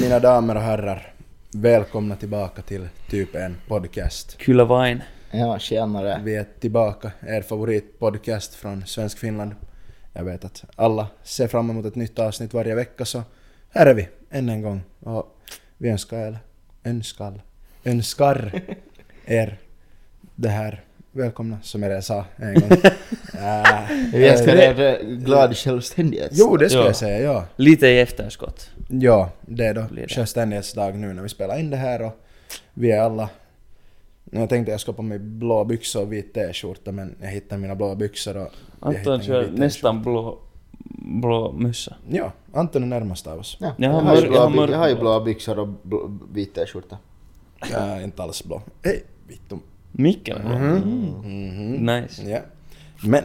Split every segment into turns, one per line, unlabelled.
Mina damer och herrar, välkomna tillbaka till typ en podcast.
Kyllä vain.
Ja, tjenare.
Vi är tillbaka, er favoritpodcast från Svensk Finland. Jag vet att alla ser fram emot ett nytt avsnitt varje vecka så här är vi än en gång. Och vi önskar er, önskar, önskar er det här välkomna som jag redan sa en gång. Äh,
Vi önskar
eh,
er glad självständighet.
Jo, det ska
Ja.
jag säga, ja.
Lite i efterskott.
Ja, det är då
Blir det.
självständighetsdag nu när vi spelar in det här och vi är alla... Jag tänkte jag ska på mig blå byxor och vit t-skjorta men jag hittade mina blå byxor och... jag hittade
Anton
ingen
kör
vit t-skjorta.
nästan blå, blå mössa.
Ja, Anton är närmast av oss.
Ja,
Jag
jag,
har
har ju
mörk-
blå
jag har
by-
mörk-
jag har ju blåa byxor och bl- vit t-skjorta.
Jag är inte alls blå. Hej, vittum.
Micken är blå.
Mhm.
Mm-hmm. Nice.
Ja. Men,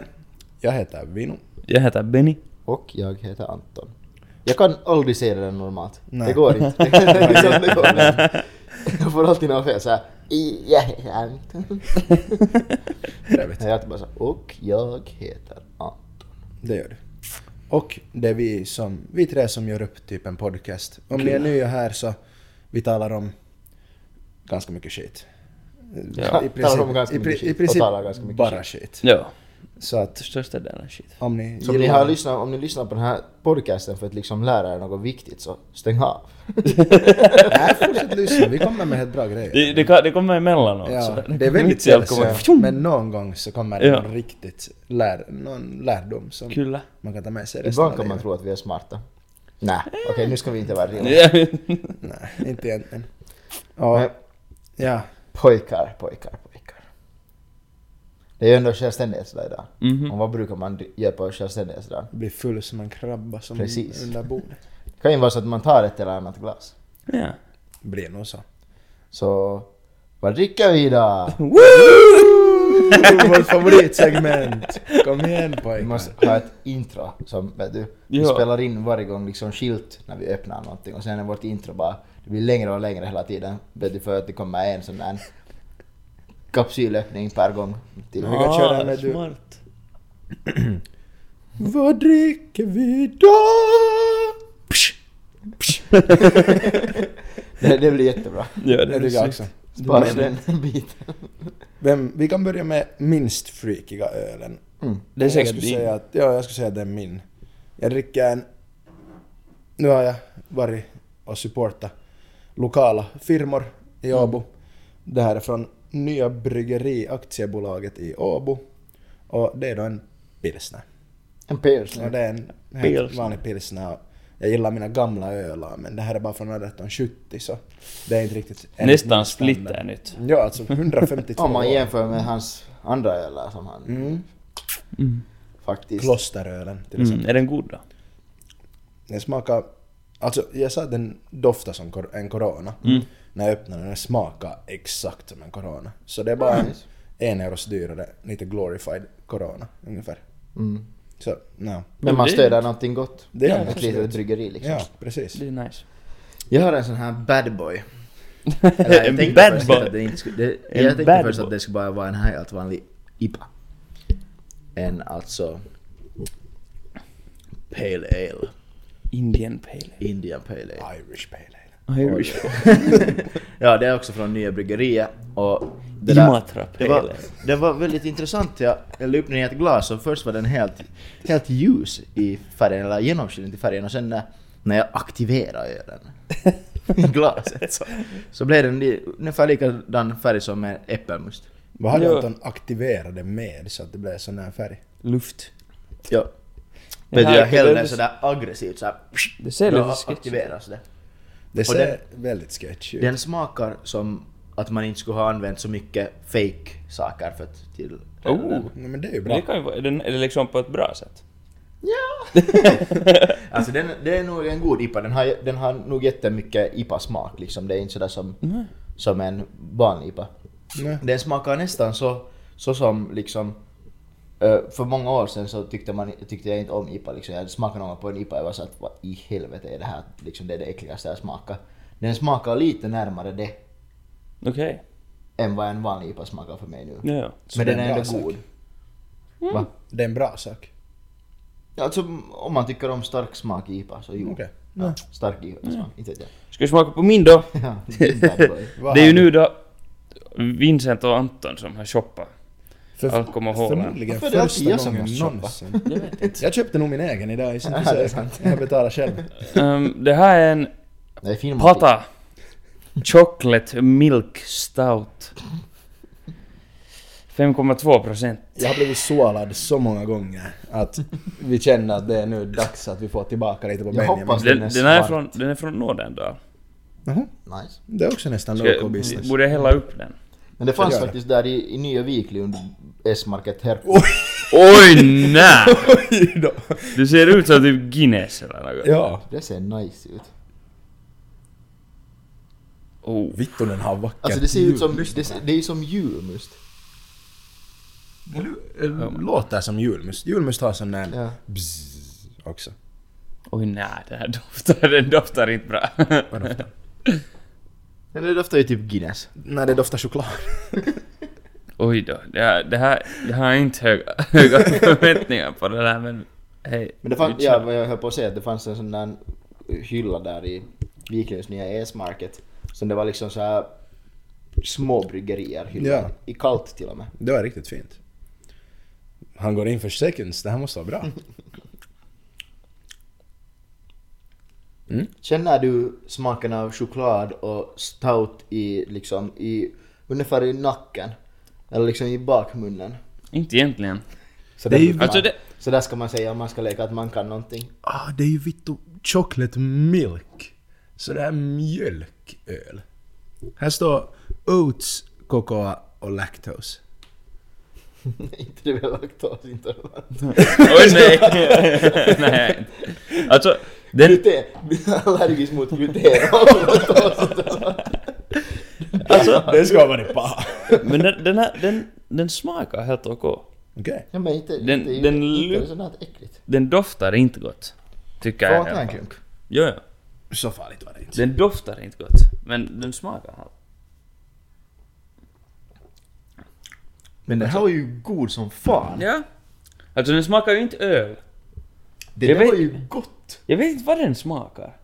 jag heter Vino.
Jag heter Benny.
Och jag heter Anton. Jag kan aldrig säga det där normalt.
Nej.
Det går inte. Det är liksom, det går inte. jag får alltid något fel såhär. Jag heter Anton.
Trevligt.
Jag är bara så, här, och jag heter Anton.
Det gör du. Och det är vi som, vi tre som gör upp typ en podcast. Om ni är nya här så, vi talar om ganska mycket skit.
Ja,
talar om ganska
i, pri-
mycket skit
I
och
princip
talar ganska mycket
bara
skit.
skit.
Ja.
Så att
Största delen skit.
om ni
Så om ni, har lyssnat, om ni lyssnar på den här podcasten för att liksom lära er något viktigt så stäng av.
Nej, fortsätt lyssna. Vi kommer med helt bra grejer.
Det, det, kan, det kommer emellanåt.
Ja,
sådär.
det är väldigt
Mitt i allt kommer-
sällsynt, men någon gång så kommer det
Ja.
någon riktigt lär, någon lärdom som
Kyllä.
man kan ta med sig resten
Ibland
av
kan man
livet.
tro att vi är smarta. Nej, okej nu ska vi inte vara roliga.
Ja.
Nej, inte egentligen. Ja,
Men
ja,
Pojkar, pojkar, pojkar. Det är ju ändå självständighetsdag idag.
Mhm.
Och vad brukar man d- göra på självständighetsdagen?
blir full som en krabba som
Precis.
under bordet.
Det kan ju vara så att man tar ett eller annat glas.
ja.
Blir nog så.
Så vad dricker vi idag?
Vårt favoritsegment! Kom igen
Vi
pojkar.
måste ha ett intro som, vet du, vi
Ja.
spelar in varje gång liksom skilt när vi öppnar någonting och sen är vårt intro bara, det blir längre och längre hela tiden. Vet du, för att det kommer en sån där kapsylöppning per gång. Till.
Vi kan köra
Ah,
med du.
smart.
Vad dricker vi idag? Psh!
Det, det blir jättebra.
Ja, det
Det
är
tycker jag
snyggt.
också.
Bara den biten.
Vem, vi kan börja med minst freakiga ölen.
Mm.
Det är
jag
säkert
skulle
din.
säga att, Ja, jag skulle säga att det är min. Jag dricker en... Nu har jag varit och supportat lokala firmor i
Mm.
Åbo. Det här är från Nya Bryggeri Aktiebolaget i Åbo. Och det är då en pilsner.
En
Och
pilsner.
det är en helt
Mm. Pilsner.
vanlig pilsner. Jag gillar mina gamla ölar men det här är bara från 1870 så det är inte riktigt... enligt min
Nästan
standard.
splitter nytt.
Ja, alltså 152
Om man
år.
jämför med hans andra ölar som han
Mm.
faktiskt...
Klosterölen till exempel.
Mm. Är den god då?
Den smakar... Alltså jag sa att den doftar som kor- en corona.
Mm.
När jag öppnade den, den smakar exakt som en corona. Så det är bara en,
Nice.
en euros dyrare, lite glorified corona ungefär.
Mm.
Så, no.
Men man stöder någonting gott.
Det gör man
Ett
absolut.
litet bryggeri liksom.
Ja, precis.
Det är nice.
Jag har en sån här bad boy.
En bad boy.
det inte skulle, det,
En
jag tänkte
bad
först
boy.
att det skulle bara vara en helt vanlig IPA. En alltså... Pale Ale.
Indian Pale
Indian Pale Ale.
Irish pale ale.
Ale. Irish
Ja, det är också från Nya Bryggeriet och... Det
Imatra
det,
Pale
var,
Ale.
det var väldigt intressant. Jag hällde upp den i ett glas och först var den helt, helt ljus i färgen, eller genomskinlig i färgen och sen när, när jag aktiverade den i glaset så, så blev den li- ungefär likadan färg som en äppelmust.
Vad hade
Ja.
Anton aktiverat det med så att det blev sån här färg?
Luft.
Ja. Men
här
jag
kan
hällde
du-
den sådär aktivt såhär...
Det ser
då
lite sketchy
aktiveras det.
Det
Och
ser väldigt sketchy ut.
Den smakar som att man inte skulle ha använt så mycket fake saker för att till...
Oh.
Nej, men det är ju
Men
bra.
det kan ju vara, är den- är det liksom på ett bra sätt?
Alltså den, det är nog en god IPA, den har, den har nog jättemycket IPA-smak liksom. Det är inte sådär som, som en vanlig IPA.
Nej.
Den smakar nästan så, så som liksom... eh, För många år sedan så tyckte, man, tyckte jag inte om IPA liksom. Jag smakade någon gång på en IPA och var såhär att vad i helvete är det här? Liksom, det är det äckligaste jag smakar. Den smakar lite närmare det
Okej.
än vad en vanlig IPA smakar för mig nu.
Ja, ja.
Så
Men
det är
den
en
är
bra
ändå
sak.
god. Va?
Det är en bra sak.
Ja, alltså om man tycker om stark smak i IPA så jo.
Okej.
Ja, stark IPA-smak, inte vet jag.
Ska vi smaka på min då?
Ja, bad boy.
Vad
Det är ju
har du?
nu då Vincent och Anton som har shoppat.
För,
alkoholen.
Förmodligen
Varför är det alltid
första
jag som
gången
måste shoppa?
någonsin.
Jag vet inte.
Jag köpte nog min egen idag i sin
Ja, det är
försök. Jag betalar själv.
Ehm, det här är en
Det är fin mat.
Pata Chocolate Milk Stout. 5,2 procent.
Jag har blivit sålad så många gånger att vi känner att det är nu dags att vi får tillbaka lite på
Jag
Benjamin.
hoppas
Den,
Den är
den, är
svart.
från, den är från Nordendal.
Jaha,
Nice.
Det är också nästan
Ska jag-
local business.
Borde jag hälla upp den?
Men det fanns
gör det.
faktiskt där i, i Nya Vikli under S-market här.
Oj nej!
Oj då.
Du ser ut som typ Guinness eller något.
Ja.
Det ser nice ut.
Oh.
Vittu den har vackert
Alltså det ser ut som...
jul.
Det, ser- det är ju som julmust.
Det eh, låter som julmust. Julmust har sån där
Ja.
bzzz också.
Oj nej, den här doftar, den doftar inte bra.
Men det doftar ju typ Guinness.
Nej, det doftar choklad.
Oj då, det här, det här, jag har inte höga, höga förväntningar på det här men hej.
Men det typ- fanns... Ja, vad jag höll på att säga att det fanns en sån där hylla där i Viklunds nya S-market. Så det var liksom så här små bryggerier hyllor.
Ja.
I kallt till och med.
Det var riktigt fint. Han går in för seconds. Det här måste vara bra.
Känner du smaken av choklad och stout i liksom i ungefär i nacken? Eller liksom i bakmunnen?
Inte egentligen.
Så
Det är ju-
där-
Alltså det,
Så där ska man säga om man ska leka att man kan någonting.
Ah, det är ju Vittu chocolate milk. Sådär mjölköl. Här står oats, cocoa och lactose.
inte det väl laktosintolerant?
oj nej. nej. inte. Alltså, den,
Gluten! Allergisk mot gluten och laktosintolerant.
Alltså, det ska vara det pa.
men den, den, här, den, den smakar helt okej.
Okej.
Ja men inte...
Den-
inte,
den
inte
lu-
är det sådär äckligt.
Den doftar inte gott. Tycker jag i
Får
alla
man en
fall.
klunk?
Jo, jo.
Så farligt var det inte.
Den doftar inte gott, men den smakar halt.
Men den här var ju god som fan.
Ja. Alltså den smakar ju inte öl.
Det
Jag
där var
vet-
ju gott!
Jag vet inte vad den smakar.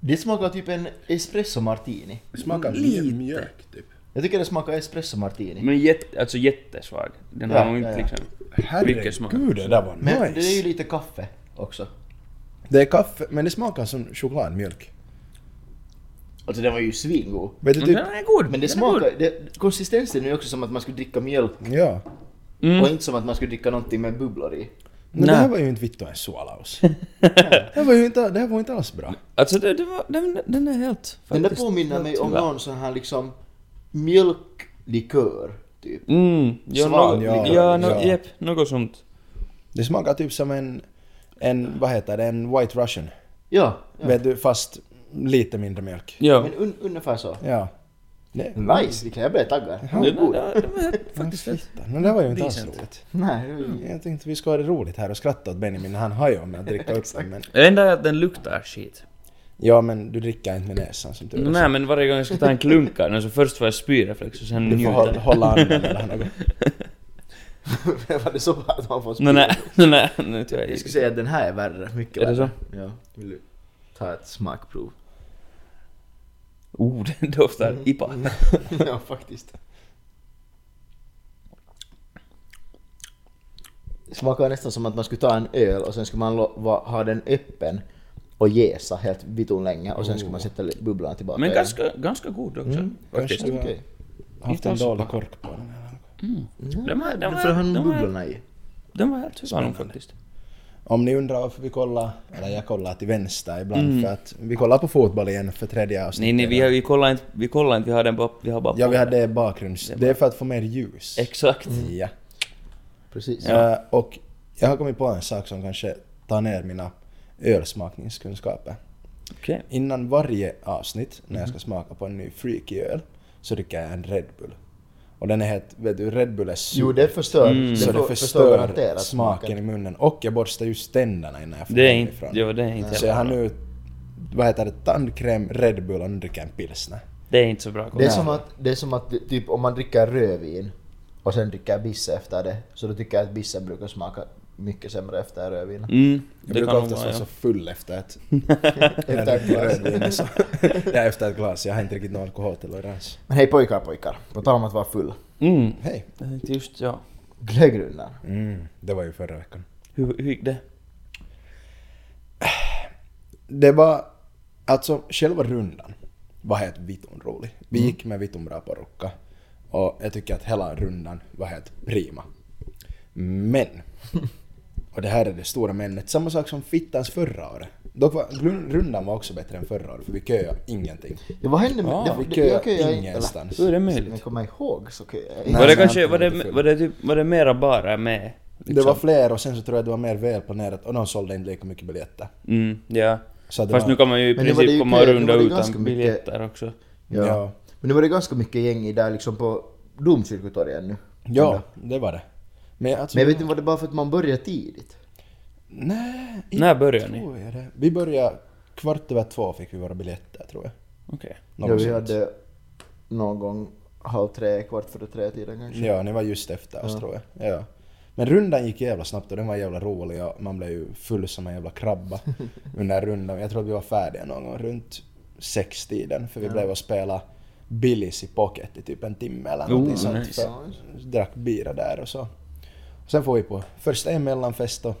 Det smakar typ en espresso martini.
Det smakar
Lite.
mjölk typ.
Jag tycker det smakar espresso martini.
Men jätte, alltså jättesvag. Den har
Ja,
nog inte
ja, ja.
liksom... Mycket smak.
Herregud, det där var
Men
nice.
det är ju lite kaffe också.
Det är kaffe, men det smakar som chokladmjölk.
Alltså den var ju svingod.
Vet du
Men
typ...
den är god.
Men det
den är god.
smakar, det, konsistensen är ju också som att man skulle dricka mjölk
Ja.
Mm.
och inte som att man skulle dricka någonting med bubblor i.
Men det
Nej.
här var ju inte Vittu en Suolaus. det, här var ju inte, det här var inte alls bra.
Alltså det, det var, den, den är helt... Faktiskt,
Den där påminner mig om
tyvärr.
någon sån här liksom mjölklikör typ.
Mm. Ja,
Svan,
något,
ja,
ja, ja, nå-
ja.
Jepp, något sånt.
Det smakar typ som en, en vad heter det, en White Russian.
Ja, ja.
Vet du, fast lite mindre mjölk.
Ja.
men un, ungefär så.
Ja. Det,
Mm.
Nice, vilken jag blev taggad. Den
Den,
var
den, den, den
god.
var helt- faktiskt helt...
men det var ju inte alls
Decent.
roligt.
Nej, det var ju-
Jag tänkte vi ska ha det roligt här och skratta åt Benjamin när han har ju med att dricka upp den. Men,
Det enda är att den luktar skit.
ja men du dricker inte med näsan som tur är.
Nej men varje gång jag ska ta en klunk av den så först får jag spyreflex och sen
Du får
njuter
hålla,
jag.
hålla andan eller något.
var det så bra att man får spy?
Nej nej, nej nu tar jag
Jag skulle
i.
säga att den här är värre, mycket
Är det
värre. Ja. Vill du ta ett smakprov?
Oh, den doftar
Mm.
IPA.
ja, faktiskt. Det smakar nästan som att man skulle ta en öl och sen skulle man lo- va- ha den öppen och jäsa helt vitun länge och sen skulle man sätta li- bubblan tillbaka
Oh. Men
i
ganska, ganska god också.
Mm.
faktiskt.
kanske.
den. Okej.
Har haft en dålig kork på den. här.
Den var, den
Men
var,
för att ha
den var,
bubblorna i.
den var helt hyvä nog faktiskt.
Om ni undrar varför vi kollar, eller jag kollar till vänster ibland för att vi kollar på fotboll igen för tredje avsnittet.
Mm. Nej nej, vi, har- vi kollar inte, vi kollar inte, vi har den bara, vi har bara
Ja vi har det bakgrunds... Det är för att få mer ljus.
Exakt.
Mm.
Ja.
Precis.
Eh, och jag har kommit på en sak som kanske tar ner mina ölsmakningskunskaper.
Okej.
Innan varje avsnitt när jag ska smaka på en ny freaky öl så dricker jag en Red Bull. Och den är helt, vet du, Red Bull är sur.
Jo, det förstör.
så det
för-
förstör
garanterat
smaken i munnen. Och jag borstar just tänderna innan jag får
Det är inte,
hemifrån.
jo, det är inte
Så jag har
heller bra.
nu, vad heter det, tandkräm, Red Bull och nu dricker jag en pilsner.
Det är inte så bra
Det är,
koll.
som att, det är som att typ om man dricker rödvin och sen dricker bisse efter det så då tycker jag att bissen brukar smaka mycket sämre efter rödvin.
Mm,
Jag
det kan
brukar
nog
oftast vara
vara,
så
ja.
full efter ett,
Efter ett glas.
rödvin. Så. det är efter ett glas, jag har inte riktigt någon alkoholtolerans.
Men hej pojkar pojkar, på tal om att vara full.
Mm,
Hej!
jag tänkte just ja.
Glöggrundan.
Mm, det var ju förra veckan.
Hur, hur gick det?
Det var, alltså själva rundan var helt vitun rolig. Vi gick med vitun bra porukka och jag tycker att hela rundan var helt prima. Men, och det här är det stora menet, samma sak som fittans förra året. Dock var, grun- rundan var också bättre än förra året för vi köade ingenting.
Ja, vad hände med...
Ja,
det-
Ah, Vi
det- jag
köade
köar inte,
ingenstans.
Hur är det
eller? Om jag
möjligt?
kommer ihåg så köar
Nej,
jag
var det
jag
kanske,
har
var det,
inte
var det, typ, var det mera bara med? liksom?
Det var fler och sen så tror jag det var mer välplanerat och de sålde inte lika mycket biljetter.
Mm, ja.
Så det
Fast
var-
nu kan man ju i
Men nu var det
princip
ju
komma
kö,
och
nu var
runda
det ganska
utan
mycket-
biljetter också.
Ja.
Ja.
Men nu var det ganska mycket gäng i där liksom på domkyrkotorget nu.
Ja, det var det. Men alltså...
Men jag vet inte, var det bara för att man börjar tidigt?
Nej,
När börjar ni?
tror jag det. Vi började kvart över två fick vi våra biljetter tror jag.
Okej.
Något
ja, vi
sånt.
hade någon gång halv tre, kvart före tre tiden kanske.
Ja, ni var just efter oss tror jag. Ja. Men rundan gick jävla snabbt och den var jävla rolig och man blev ju full som en jävla krabba under rundan. Jag tror att vi var färdiga någon gång runt sextiden för vi blev och spela Billys i pocket i typ en timme eller någonting
Oh,
sånt.
nice.
För, drack bira där och så. Sen får vi på första en mellanfest och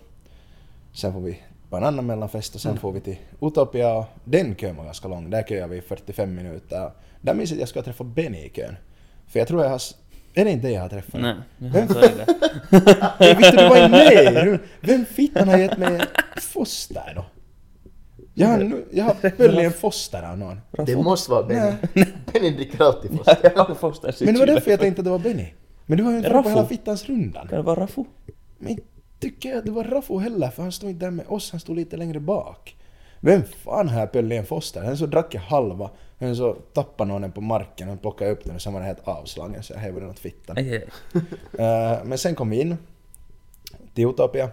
sen får vi på en annan mellanfest och sen får vi till Utopia och den kön var ganska lång. Där köade vi i 45 minuter. Där minns jag att jag skulle träffa Benny i kön. För jag tror jag har... s- Är det inte dig jag har träffat?
Nej, jag sa ju det.
Nej, Victor, du var ju med! Vem fittan har gett mig en foster då? Jag har, nu- jag har höll i en foster av någon.
Det måste vara Benny. Benny dricker alltid först.
Jag har fått det
Men det var därför jag tänkte att det var Benny. Men du har ju inte varit på
Raffo.
hela fittans rundan.
Kan det vara Raffo?
Men tycker jag att det var Raffo heller, för han stod inte där med oss, han stod lite längre bak. Vem fan har jag pöll i en foster? Sen så drack jag halva, sen så tappade någon den på marken, han plockade upp den och sen var den helt avslagen, så jag hävde den åt fittan.
Aj, aj.
Eh, men sen kom vi in till Utopia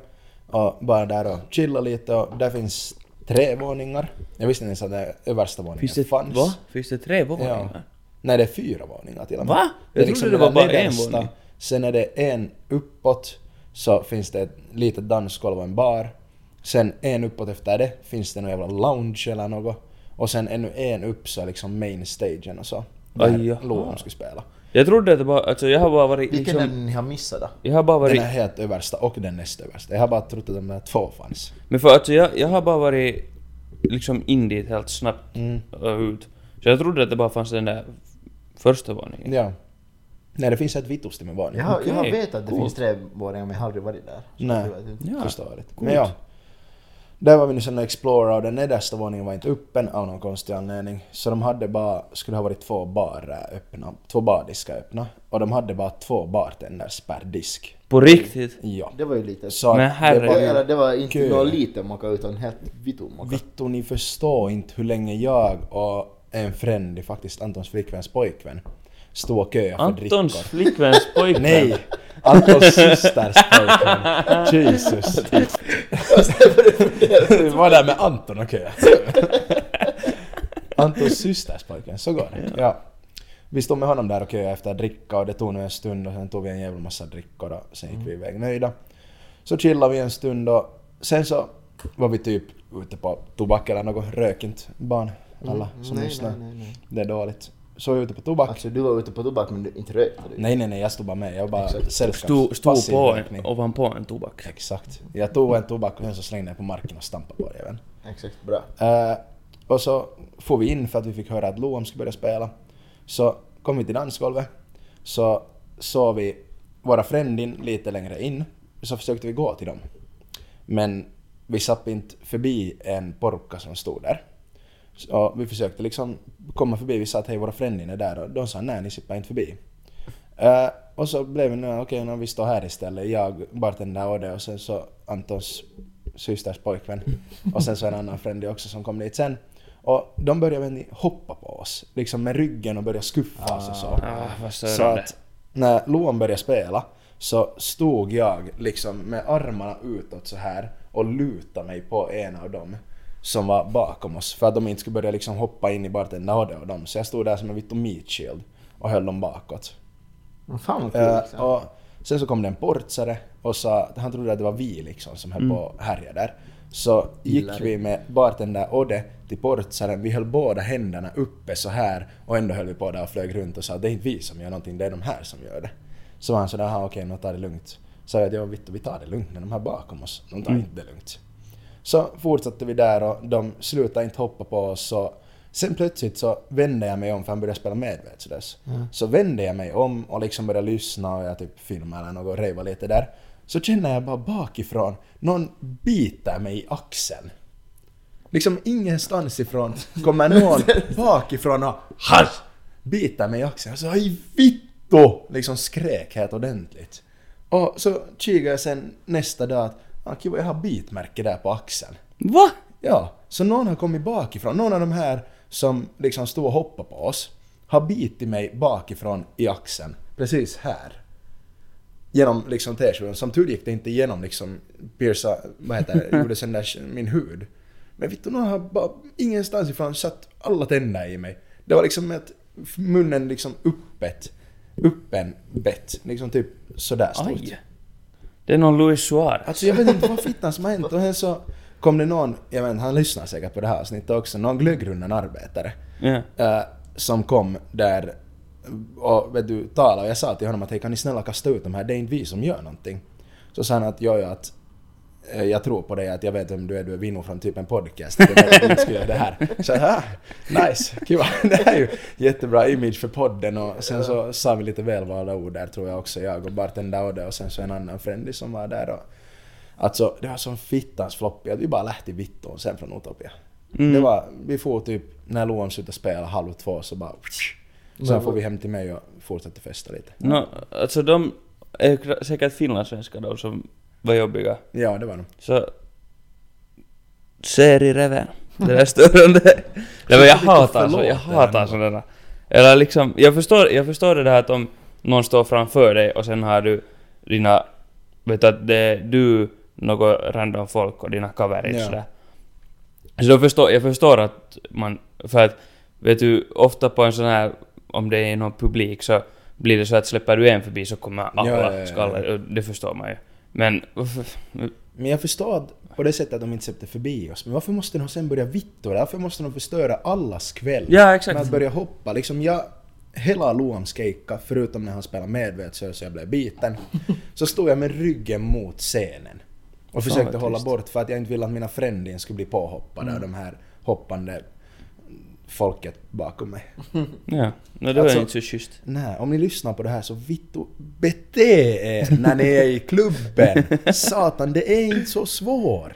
och bara där och chillade lite och där finns tre våningar. Jag visste inte ens att det översta våningen
Finns det,
fanns.
va? Finns det tre
Ja.
våningar?
Nej, det är fyra våningar till och med. liksom
Va? Jag trodde det var
den
bara en
nedersta,
våning.
Sen är det en uppåt, så finns det ett litet dansgolv och en bar. Sen en uppåt efter det finns det någon jävla lounge eller något. Och sen ännu en upp så är liksom main stagen och så.
Aj, jaha.
Där Loan skulle spela.
Jag trodde att det bara, alltså jag har bara varit
Vilken är
liksom,
den ni har missat då?
jag har bara
Den
varit,
är helt översta och den näst översta. Jag har bara trott att de där två fanns.
men för alltså jag, jag har bara varit liksom in dit helt snabbt
Mm.
och ut. Så jag trodde att det bara fanns den där första våningen.
Ja. Nej, det finns ett vitusti med våning.
Jag har, jag har
Okej,
vetat att det
coolt.
finns tre våningar men jag har aldrig varit där. Så
Nej.
jag vet inte.
Ja.
Förståeligt. Men ja. Där var vi nu sen och explorade och den nedersta våningen var inte öppen av någon konstig anledning. Så de hade bara, skulle ha varit två barer öppna, två bardiskar öppna. Och de hade bara två bartenders per disk.
På riktigt?
Ja.
Det var ju lite...
Så att
Men
det
herregud.
var
det,
ju,
eller, det var inte
Kul.
någon liten mocka utan helt vitun mocka.
Vittu ni förstår inte hur länge jag och en fränd, faktiskt Antons flickväns pojkvän, stod och köade för
Antons
drickor.
flickväns pojkvän?
Nej! Antons systers pojkvän. Jesus. Vi var där med Anton, okej. Antons systers pojkvän, så går det. Ja. Vi stod med honom där och köade efter dricka och det tog nu en stund och sen tog vi en jävla massa drickor och sen gick vi iväg nöjda. Så chillade vi en stund och sen så var vi typ ute på tobak eller något, rök inte barn alla som
Mm. nej,
lyssnar.
nej, nej, nej.
Det är dåligt. Så var vi ute på tobak.
Alltså du var ute på tobak men du inte rökte du.
Nej, nej, nej, jag stod bara med. Jag bara sällskaps...
Stod, stod
passiv
på
rökning.
en, ovanpå en tobak.
Exakt. Jag tog en tobak och sen så slängde jag på marken och stampade på jäveln.
Exakt, bra.
Eh, och så får vi in för att vi fick höra att Loam skulle börja spela. Så kom vi till dansgolvet. Så såg vi våra frändin lite längre in. Så försökte vi gå till dem. Men vi sapp inte förbi en porukka som stod där. Så vi försökte liksom komma förbi. Vi sa att hej våra frändin är där och de sa nej ni sippar inte förbi. Eh, och så blev vi nu, okej nå, vi står här istället. Jag, bartender och det och sen så Antons systers pojkvän. Och sen så en annan fränd också som kom dit sen. Och de började väl hoppa på oss, liksom med ryggen och började skuffa oss och så.
Ah, vad
Så
störande.
att när Loan började spela så stod jag liksom med armarna utåt så här och lutade mig på en av dem som var bakom oss för att de inte skulle börja liksom hoppa in i bartendern och det och dem. Så jag stod där som en vittu meat shield och höll dem bakåt.
Men fan vad kul.
Eh,
liksom.
och Sen så kom det en portsare och sa att han trodde att det var vi liksom som höll på och härjade där. Så gick vi med bartender Odde till portsaren, vi höll båda händerna uppe så här och ändå höll vi på där och flög runt och sa att det är inte vi som gör någonting, det är de här som gör det. Så var han sådär, "Aha, okej, nu tar det lugnt. Så jag att ja, vittu, vi tar det lugnt när de här bakom oss, de tar inte det lugnt. Så fortsatte vi där och de slutade inte hoppa på oss. Så sen plötsligt så vände jag mig om, för han började spela medvetslös. Så vände jag mig om och liksom började lyssna och jag typ filmade eller något och rejvade lite där. Så känner jag bara bakifrån, någon biter mig i axeln. Liksom ingenstans ifrån kommer någon bakifrån och Harr! biter mig i axeln. Jag sa "Aj, vittu! Liksom skrek helt ordentligt. Och så kikade jag sen nästa dag att ah, kiva, jag har bitmärke där på axeln.
Va?
Ja, så någon har kommit bakifrån. Någon av de här som liksom stod och hoppade på oss har bitit mig bakifrån i axeln. Precis här. Genom liksom t-skjortan. Som tur gick det inte igenom liksom pierca, vad heter det, gjorde sen där sh- min hud. Men vittu, någon har bara ingenstans ifrån satt alla tänder i mig. Det var liksom att munnen liksom öppet. Öppen bett. Liksom typ sådär stort.
Aj. Det är någon Louis Suarez.
Alltså jag vet inte vad fittan som har hänt och sen så kom det någon, jag vet inte, han lyssnar säkert på det här avsnittet också, någon glöggrundan arbetare.
Ja.
eh, som kom där och vet du, talade och jag sa till honom att hej kan ni snälla kasta ut de här, det är inte vi som gör någonting. Så sa han att jag att eh, jag tror på dig, att jag vet vem du är, du är Vinno från typ en podcast. Det var därför vi skulle göra det här. Så jag, ah, nice, kiva. Det här är ju jättebra image för podden och sen så sa vi lite välvalda ord där tror jag också, jag och bartender Odde och sen så en annan frändis som var där och Alltså det var sån fittans floppy att vi bara lähti vittuun sen från Utopia. Det var, vi får typ, när Loam slutade spela halv två så bara... Sen får vi hem till mig och fortsätter festa lite.
No, alltså de är ju kra- säkert finlandssvenskar de som var jobbiga.
Ja, det var nog.
Så... Serireven. Det där störande. Nej men jag hatar, så, jag hatar sådana. Eller liksom, jag förstår, jag förstår det där att om någon står framför dig och sen har du dina... Vet du att det är du, något random folk och dina coverage
Ja.
där. Så då förstår, jag förstår att man... För att, vet du, ofta på en sån här... Om det är någon publik så blir det så att släpper du en förbi så kommer alla
Ja, ja, ja, ja.
skallar. och Det förstår man ju. Men...
Men jag förstår att på det sättet att de inte släppte förbi oss. Men varför måste de sen börja vittu? Varför måste de förstöra allas kväll?
Ja, exakt.
Med att börja hoppa. Liksom jag, hela Loam skejka, förutom när han spelade medvetslös så jag blev biten. så stod jag med ryggen mot scenen. Och
Fan,
försökte
vad
hålla
trist. Mm.
bort för att jag inte ville att mina frändin skulle bli påhoppade av de här hoppande folket bakom mig.
Ja, no, det var
Alltså-
ju inte så schysst.
Nej, om ni lyssnar på det här så vittu bete er när ni är i klubben. Satan, det är inte så svårt.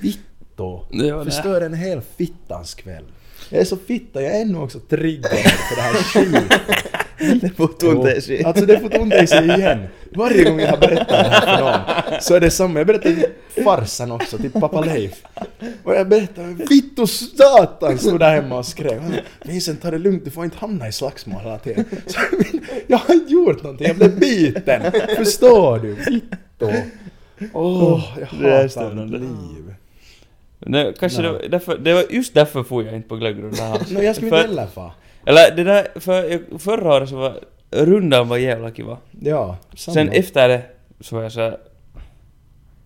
Vittu.
Det var det.
Förstör en hel fittans kväll. Jag är så fitta, jag är ännu också triggad för det här skiten.
Det får ont i sig.
Alltså det får ont i sig igen. Varje gång jag berättar det här för någon så är det samma. Jag berättar till farsan också, till pappa Leif. Och jag berättar vittu satan stod där hemma och skrev. Han, Vincent ta det lugnt, du får inte hamna i slagsmål hela tiden. Så, jag men, jag har inte gjort någonting, jag blev biten. Förstår du? Vittu. Åh, jag
Det är
hatar mitt
störande.
liv.
Nej, kanske det, var därför, det var just därför får jag inte på glöggrundan alls.
No, jag skulle
För-
inte heller fa.
Eller det där, för förra året så var rundan var jävla kiva.
Ja, samma.
Sen efter det så var jag så här,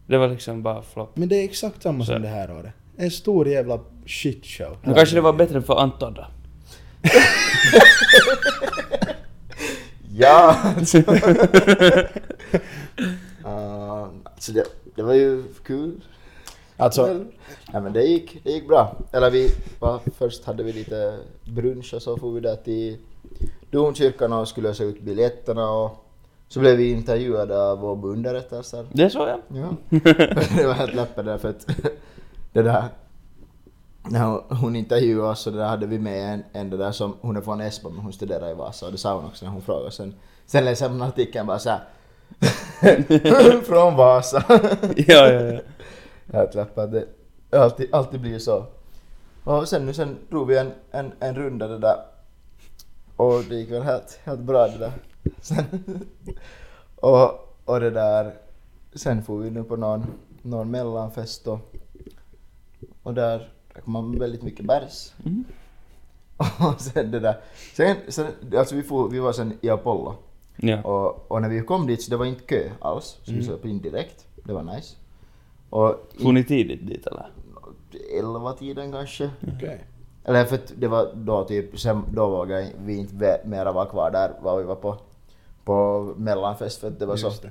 Det var liksom bara flopp.
Men det är exakt samma
Så.
som det här året. En stor jävla shitshow.
Men kanske det var bättre för Anton då.
Ja! alltså. Ah, alltså det, det var ju kul.
Alltså,
Väl? Nej men det gick, det gick bra. Eller vi, va, först hade vi lite brunch och så for vi där till Domkyrkan och skulle lösa ut biljetterna och så blev vi intervjuade av vår underrättelser.
Det såg jag.
Ja. det var helt läppen där för att det där när hon- hon intervjuade oss så där hade vi med en, en det där som, hon är från Esbo men hon studerar i Vasa och det sa hon också när hon frågade. Sen, sen läste hon artikeln bara såhär Från Vasa.
Ja, ja, ja.
Helt läpp att det alltid, alltid blir så. Och sen nu sen drog vi en, en, en runda det där. Och det gick väl helt, helt bra det där. Sen, och, och det där. Sen får vi nu på någon, någon mellanfest och, och där drack man väldigt mycket bärs.
Mm.
Och sen det där. Sen, sen alltså vi, får, vi var sen i Apollo.
Ja.
Och, och när vi kom dit så det var inte kö alls, så vi söp in direkt. Det var nice. Och
For ni tidigt dit eller?
elva tiden kanske.
Okej.
Eller för att det var då typ, sen då vågade vi inte ve- mera vara kvar där vad vi var på, på mellanfest för att det var så,
Just det.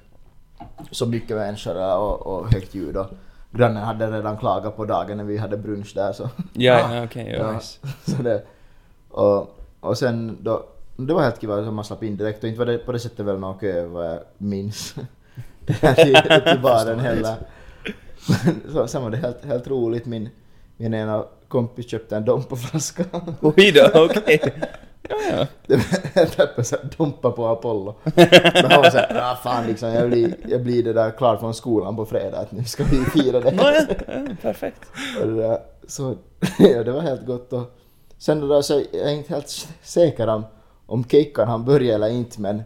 så mycket människor där och, och högt ljud och grannen hade redan klagat på dagen när vi hade brunch där så.
Ja, ja, okej.
Ja,
ja.
så det, och, och sen då, det var helt kiva som man slapp in direkt och inte var det på det sättet väl någon kö vad jag minns. till, till baren heller. Men så, sen var det helt, helt roligt, min, min ena kompis köpte en dompaflaska.
Oj då, okej. Ja, ja.
Det var Helt öppet såhär dompa på Apollo. Men han var såhär, ah fan liksom, jag blir, jag blir det där klar från skolan på fredag att nu ska vi fira det.
Nåja, ja, perfekt.
Och det där, så ja, det var helt gott. Och sen det där så jag är inte helt säker om, om kickan han började eller inte men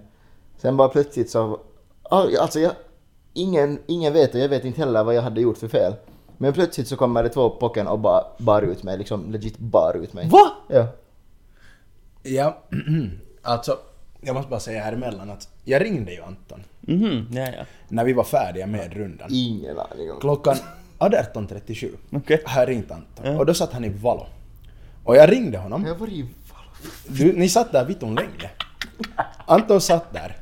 sen bara plötsligt så... Alltså jag, ingen, ingen vet och jag vet inte heller vad jag hade gjort för fel. Men plötsligt så kommer det två pocken och bara bar ut mig, liksom legit bar ut mig.
Va?
Ja.
Ja, alltså jag måste bara säga här emellan att jag ringde ju Anton
Mhm, ja, ja.
när vi var färdiga med rundan.
Ingen aning om.
Klockan 18.37
Okej.
har jag ringt Anton och då satt han i Valo. Och jag ringde honom
Jag var i...
Du, ni satt där vitton länge. Anton satt där.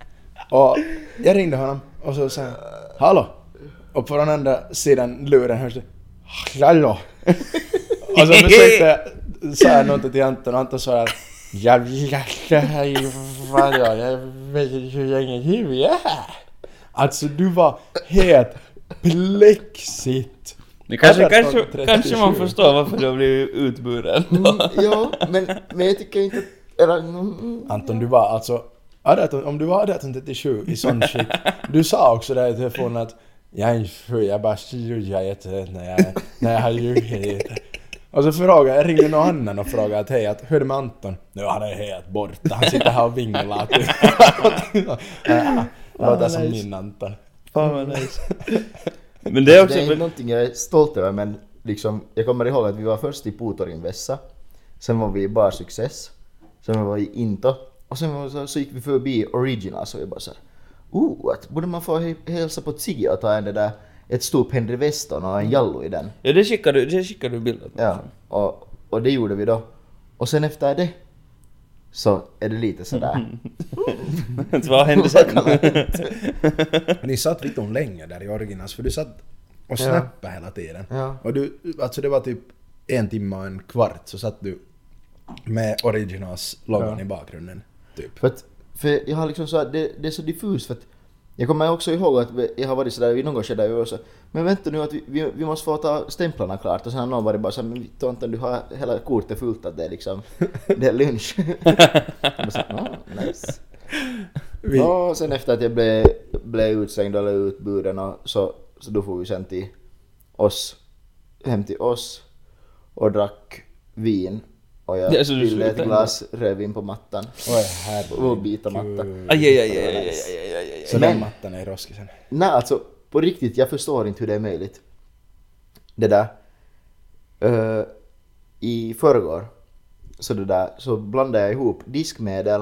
Och jag ringde honom och så sa jag ”Hallå?” och på den andra sidan luren hörs det ”Hallå?” och så försökte jag säga någonting till Anton och Anton svarade ”Jag vet inte vad jag- jag vet inte hur länge du är här”. Alltså du var helt plexigt.
Men Kanske,
18,
kanske,
37.
kanske man förstår varför du har blivit utburen
Mm,
då.
ja, men, men jag tycker inte att... Eller, mm,
Anton, du var alltså... 18, om du var 1837 i sån skick. Du sa också där i telefonen att jag är inte full, jag bara slujar jätterätt när jag, när jag har ljugit. Och så frågade jag, ringde någon annan och frågade att hej, att, hur är det med Anton? Nu han är helt borta, han sitter här och vinglar. typ." Ja, Låter som min Anton.
Fan vad nice. Men det är också...
det är inte
Men,
någonting jag är stolt över men liksom, jag kommer ihåg att vi var först i Putorin Vessa, sen var vi i Bar Success, sen var vi i Into och sen var, så, så gick vi förbi Original så jag bara såhär oh, att borde man få he- hälsa på Ziggy och ta en det där, ett stort Henry Weston och en Jallo i den?
ja, det skickar du, det skickar du bilder på.
Ja, och, och det gjorde vi då. Och sen efter det så är det lite sådär.
Vad hände sen?
Ni satt vitton länge där i originals för du satt och
Ja.
snappade hela tiden.
Ja.
Och du, alltså det var typ en timme och en kvart så satt du med originals loggan
Ja.
i bakgrunden. Typ.
För, att, för jag har liksom så här, det, det är så diffust för att jag kommer också ihåg att vi- jag har varit sådär vid någon skede och så Men vänta nu att vi, vi, vi måste få ta stämplarna klart och sen har någon varit bara såhär men Anton du har hela kortet fullt att det är liksom Det är lunch. och så, ah, nice.
Vi,
Och sen efter att jag blev, blev utslängd eller utbuden och så, så då får vi sen till oss, hem till oss och drack vin och jag
Ja, så du
ville ett
slutade
glas rödvin på mattan.
Oj
Och byta matta.
herregud.
Aj, aj, aj, aj, aj, aj, aj, aj, aj.
Så den
Men-
mattan är i roskisen.
Nej, alltså på riktigt, jag förstår inte hur det är möjligt. Det där. Eh, I förrgår så, det där, så blandade jag ihop diskmedel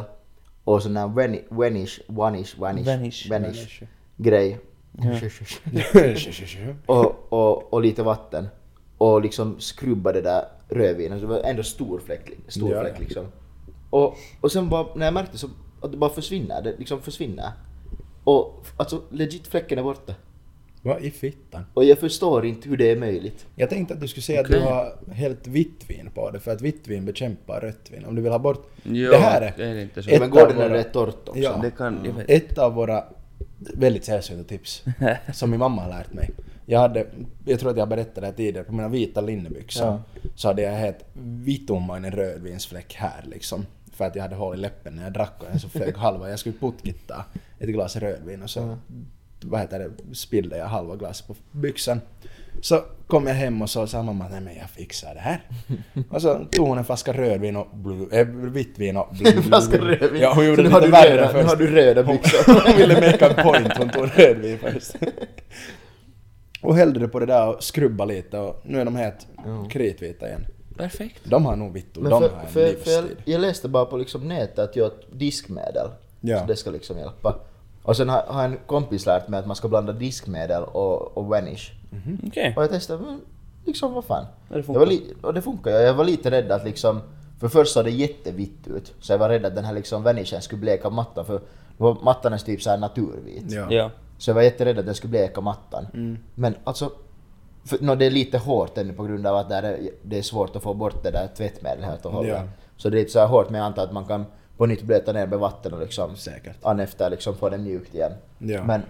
och sån där vani- vanish, vanish, vanish,
Vanish.
vanish grej. och, och, och lite vatten. Och liksom skrubba det där rödvinet. Så det var ändå stor fläck. Stor
Ja,
fläck
ja.
liksom. Och, och sen bara, när jag märkte så att det bara försvinner. Det liksom försvinner. Och f- alltså legit fläcken är borta.
Vad i fittan?
Och jag förstår inte hur det är möjligt.
Jag tänkte att du skulle säga att du har helt vitt vin på det för att vitt vin bekämpar rött vin. Om du vill ha bort...
Jo,
det här är...
det är inte så.
ett
men går det
av
när
våra-
det är torrt också?
Ja.
Det kan, jag vet.
Ett av våra väldigt sällsynta tips som min mamma har lärt mig. Jag hade, jag tror att jag berättade det här tidigare, på mina vita linnebyxor så hade jag helt vitomainen rödvinsfläck här liksom. För att jag hade hål i läppen när jag drack och den så flög halva. Jag skulle putkitta ett glas rödvin och så vad heter det, spillde jag halva glaset på byxan. Så kom jag hem och så sa mamma nej men jag fixar det här. Och så tog hon en flaska rödvin och blu, äh, vitt vin och blu,
En flaska rödvin.
Ja, hon
Så
gjorde
nu
det
har
lite
du
värre
röda-
först.
Nu har du röda byxor.
Hon ville make a point, hon tog rödvin först. Och hällde det på det där och skrubba lite och nu är de helt kritvita igen.
Perfekt.
De har nog vitt och
Men
de
för,
har en
för, för jag,
livsstil.
jag läste bara på liksom nätet att jag diskmedel
Ja.
Så det ska liksom hjälpa. Och sen har, har en kompis lärt mig att man ska blanda diskmedel och, och vanish.
Okej.
Och jag testade, men liksom vad fan.
Ja, det funkar.
jag var li- och det funkar ju. Jag var lite rädd att liksom, för först såg det jättevitt ut. Så jag var rädd att den här liksom vanishen skulle bleka mattan för då var mattan är typ såhär naturvit.
Ja.
Ja.
Så jag var jätterädd att den skulle bleka mattan. Men alltså, för, nå, det är lite hårt ännu på grund av att där är, det är svårt att få bort det där tvättmedlet helt och hållet.
Ja.
Så det är lite så här hårt men jag antar att man kan på nytt blöta ner med vatten och liksom
Säkert.
an efter liksom få den mjukt igen.
Ja.
Men,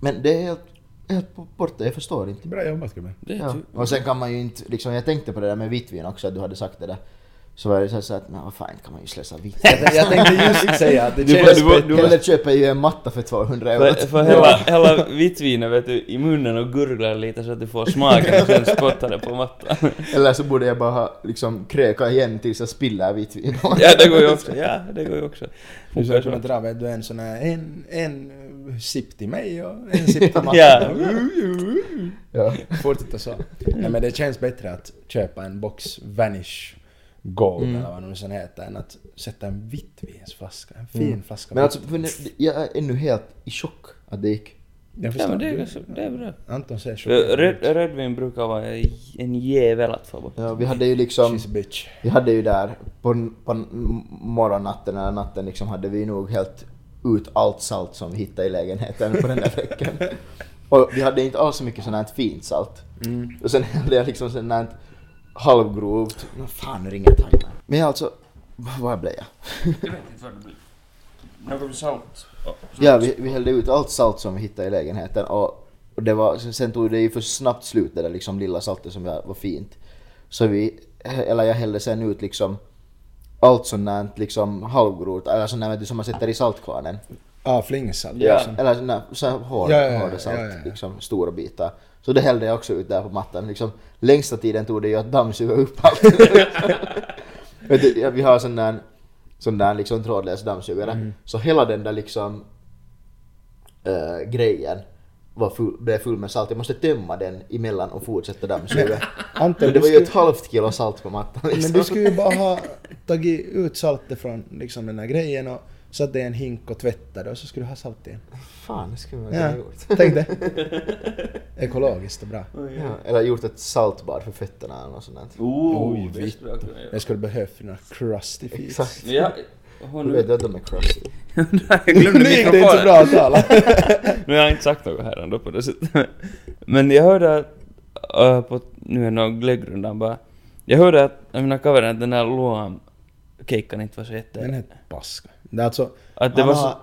men det är helt, helt borta, jag förstår inte.
Bra jobbat gubben.
Det är typ-
Ja.
ju-
Och sen kan man ju inte, liksom, jag tänkte på det där med vitt vin också, att du hade sagt det där. Så var det så här så att, nej vad fan inte kan man ju slösa vitt.
Jag tänkte just säga att det
Du-
känns...
du- du- du-
Hellre köper jag ju en matta för 200 euro.
För, för hela, hela vitvinet vet du, i munnen och gurglar lite så att du får smaken och sen spottar det på mattan.
Eller så borde jag bara ha, liksom kröka igen tills jag spiller vitt vin.
Ja, det går ju också. Ja, det går ju också.
Du
Funkar
skulle
så.
kunna dra vet du, en sån här, en, en eh, sipp till mig och en sipp till Martin. Mm.
Ja.
Ja.
Fortsätta så. Nej men det känns bättre att köpa en box Vanish Gold
Mm.
eller vad den sen heter än att sätta en vitvinsflaska, en fin flaska.
Men alltså, för nu- jag är ännu helt i chock att det gick.
jag
Ja,
förstår.
men det är,
du-
ganska- det är bra.
Anton ser
Eh,
chockad
Röd,
ut.
rödvin brukar vara en jävel att få bort.
Ja, vi hade ju liksom,
She's a bitch.
vi hade ju där på, på morgonnatten eller natten liksom hade vi nog helt ut allt salt som vi hittade i lägenheten på den där veckan. Och vi hade inte alls så mycket sånt här fint salt. Och sen hade jag liksom sånt här halvgrovt. Men fan, nu ringer timern. Men alltså, vad blev jag?
Jag vet inte vad det blir. Något salt.
Ja, vi, vi hällde ut allt salt som vi hittade i lägenheten och, och det var, sen tog det ju för snabbt slut det där liksom lilla saltet som jag, var fint. Så vi, eller jag hällde sen ut liksom allt sånt där liksom halvgrot, eller sånt där vet du, som man sätter i saltkvarnen.
Ah, flingsalt. liksom.
Eller sån där, så här hård,
Ja, ja, ja,
hårda salt,
ja, ja, ja.
liksom stora bitar. Så det hällde jag också ut där på mattan. Liksom, längsta tiden tog det ju att dammsuga upp allt. Vet du, ja, vi har sån där, sån där liksom trådlös dammsugare.
Mm.
Så hela den där liksom eh, grejen var full, blev full med salt. Jag måste tömma den emellan och fortsätta dammsuga.
Anton,
Men
du
det var ju ett
skulle,
halvt kilo salt på mattan. Liksom.
men du skulle ju bara ha tagit ut saltet från liksom, den här grejen och satt det i en hink och tvättade och så skulle du ha salt igen.
Fan, det skulle man
Ja,
ha gjort.
tänk det. Ekologiskt och bra.
Ja, eller gjort ett saltbad för fötterna eller något sånt. där.
Oh,
Oj,
det
vitt.
skulle jag kunna göra.
Jag skulle behövt några crusty feet.
Exakt.
Ja,
Du
hon...
vet att de är crusty.
Jag
Nu
glömde
gick det inte så
mikrofonen.
bra att tala.
Nu har jag inte sagt något här ändå på det sättet. Men jag hörde att... äh, på, nu är nog glöggrundan bara. Jag hörde att, jag menar covern, att den där Loam keikan inte var så
Den
jätte...
är paska. Det är alltså,
Att det
han
var
har
så-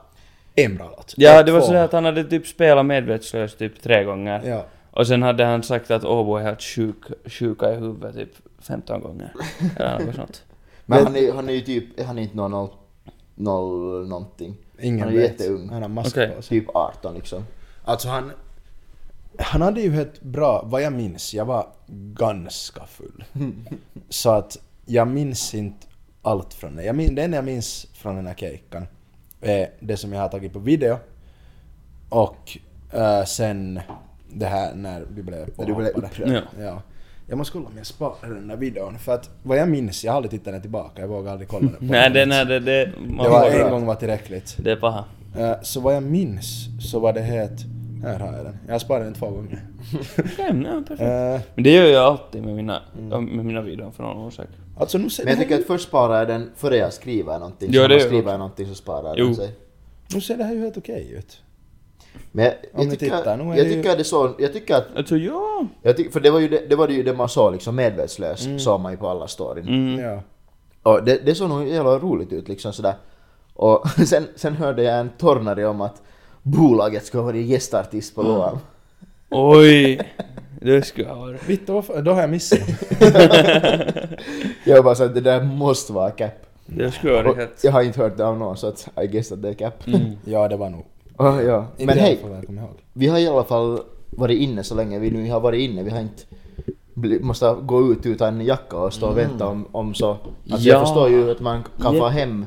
en bra låt.
Ja,
Eller
det var
två.
sådär att han hade typ spelat medvetslös typ tre gånger.
Ja.
Och sen hade han sagt att Åbo är helt sjuk, sjuka i huvudet typ 15 gånger. Eller något sånt.
Men han är, han är ju typ, han är inte någon, noll, noll någonting.
Ingen
han är
vet.
jätteung.
Han har mask
Okej.
på sig.
Typ 18 liksom.
Alltså han... Han hade ju ett bra, vad jag minns, jag var ganska full. Så att jag minns inte allt från det. Jag min, det enda jag minns från den här kejkan är det som jag har tagit på video. Och eh, sen det här när vi blev
När du blev
påhoppade.
upprörd.
Ja.
Ja. Jag måste kolla om jag sparar den där videon. För att vad jag minns, jag har aldrig tittat den tillbaka. Jag vågar aldrig kolla den. på
Nej,
nytt.
den är det... Det, man
Det var
får-
en gång var tillräckligt.
Det är paha.
Eh, Så vad jag minns så var det het... Här har jag den. Jag sparade den två gånger.
Okej, ja, perfekt.
Eh,
Men det gör jag alltid med mina,
Mm.
med mina videor för någon orsak.
Alltså nu ser,
Men jag
det
tycker
här,
att först sparar jag den före jag skriver någonting.
Ja,
så när
det
man
gör jag
skriver någonting så sparar
Jo.
den sig.
nu ser det här ju helt okej ut.
Men jag, jag,
ni
tycker,
tittar, nog är
jag
det ju-
tycker att det så, jag tycker att,
Alltså ja!
jag tycker, för det var ju det, det, var det, ju det man sa liksom medvetslös,
Mm.
sa man ju på alla storyn.
Mm.
Ja.
Och det, det såg nog jävla roligt ut liksom sådär. Och sen, sen hörde jag en tornare om att bolaget ska vara gästartist
Mm.
på Loam.
Oj! Det skulle jag ha varit.
Vittu, varför? Då har jag missat.
Jag bara så att det där måste vara cap.
Det skulle jag ha
Och
varit helt...
jag har inte hört det av någon så att I guess att det är cap.
ja, det var nog.
Ah, ja.
Mm. Inte
Men
i alla
hej,
fall vad jag kommer ihåg.
vi har i alla fall varit inne så länge vi nu har varit inne. Vi har inte bli, måste gå ut utan jacka och stå och
Mm.
vänta om, om så. Alltså
Ja.
jag förstår ju att man kan
Jep.
få hem,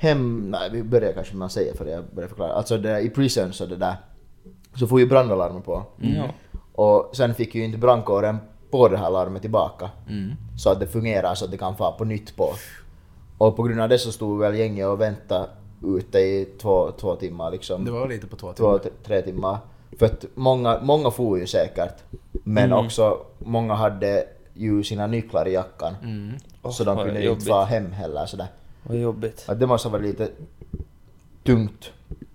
hem, nej vi börjar kanske med att säga för det, jag börjar förklara. Alltså det, i prison så det där, så får ju brandalarmen på.
Mm.
Ja.
Och sen fick ju inte brandkåren på det här larmet tillbaka. Så att det fungerar så att det kan få på nytt på. Och på grund av det så stod väl gänget och väntade ute i två, två timmar liksom.
Det var lite på två timmar.
två, t- tre timmar. För att många, många for ju säkert. Men också många hade ju sina nycklar i jackan.
Mm.
Så
Åh,
de
vad
kunde ju
jobbigt.
inte vara hem heller sådär.
Vad jobbigt.
Att det måste ha varit lite tungt.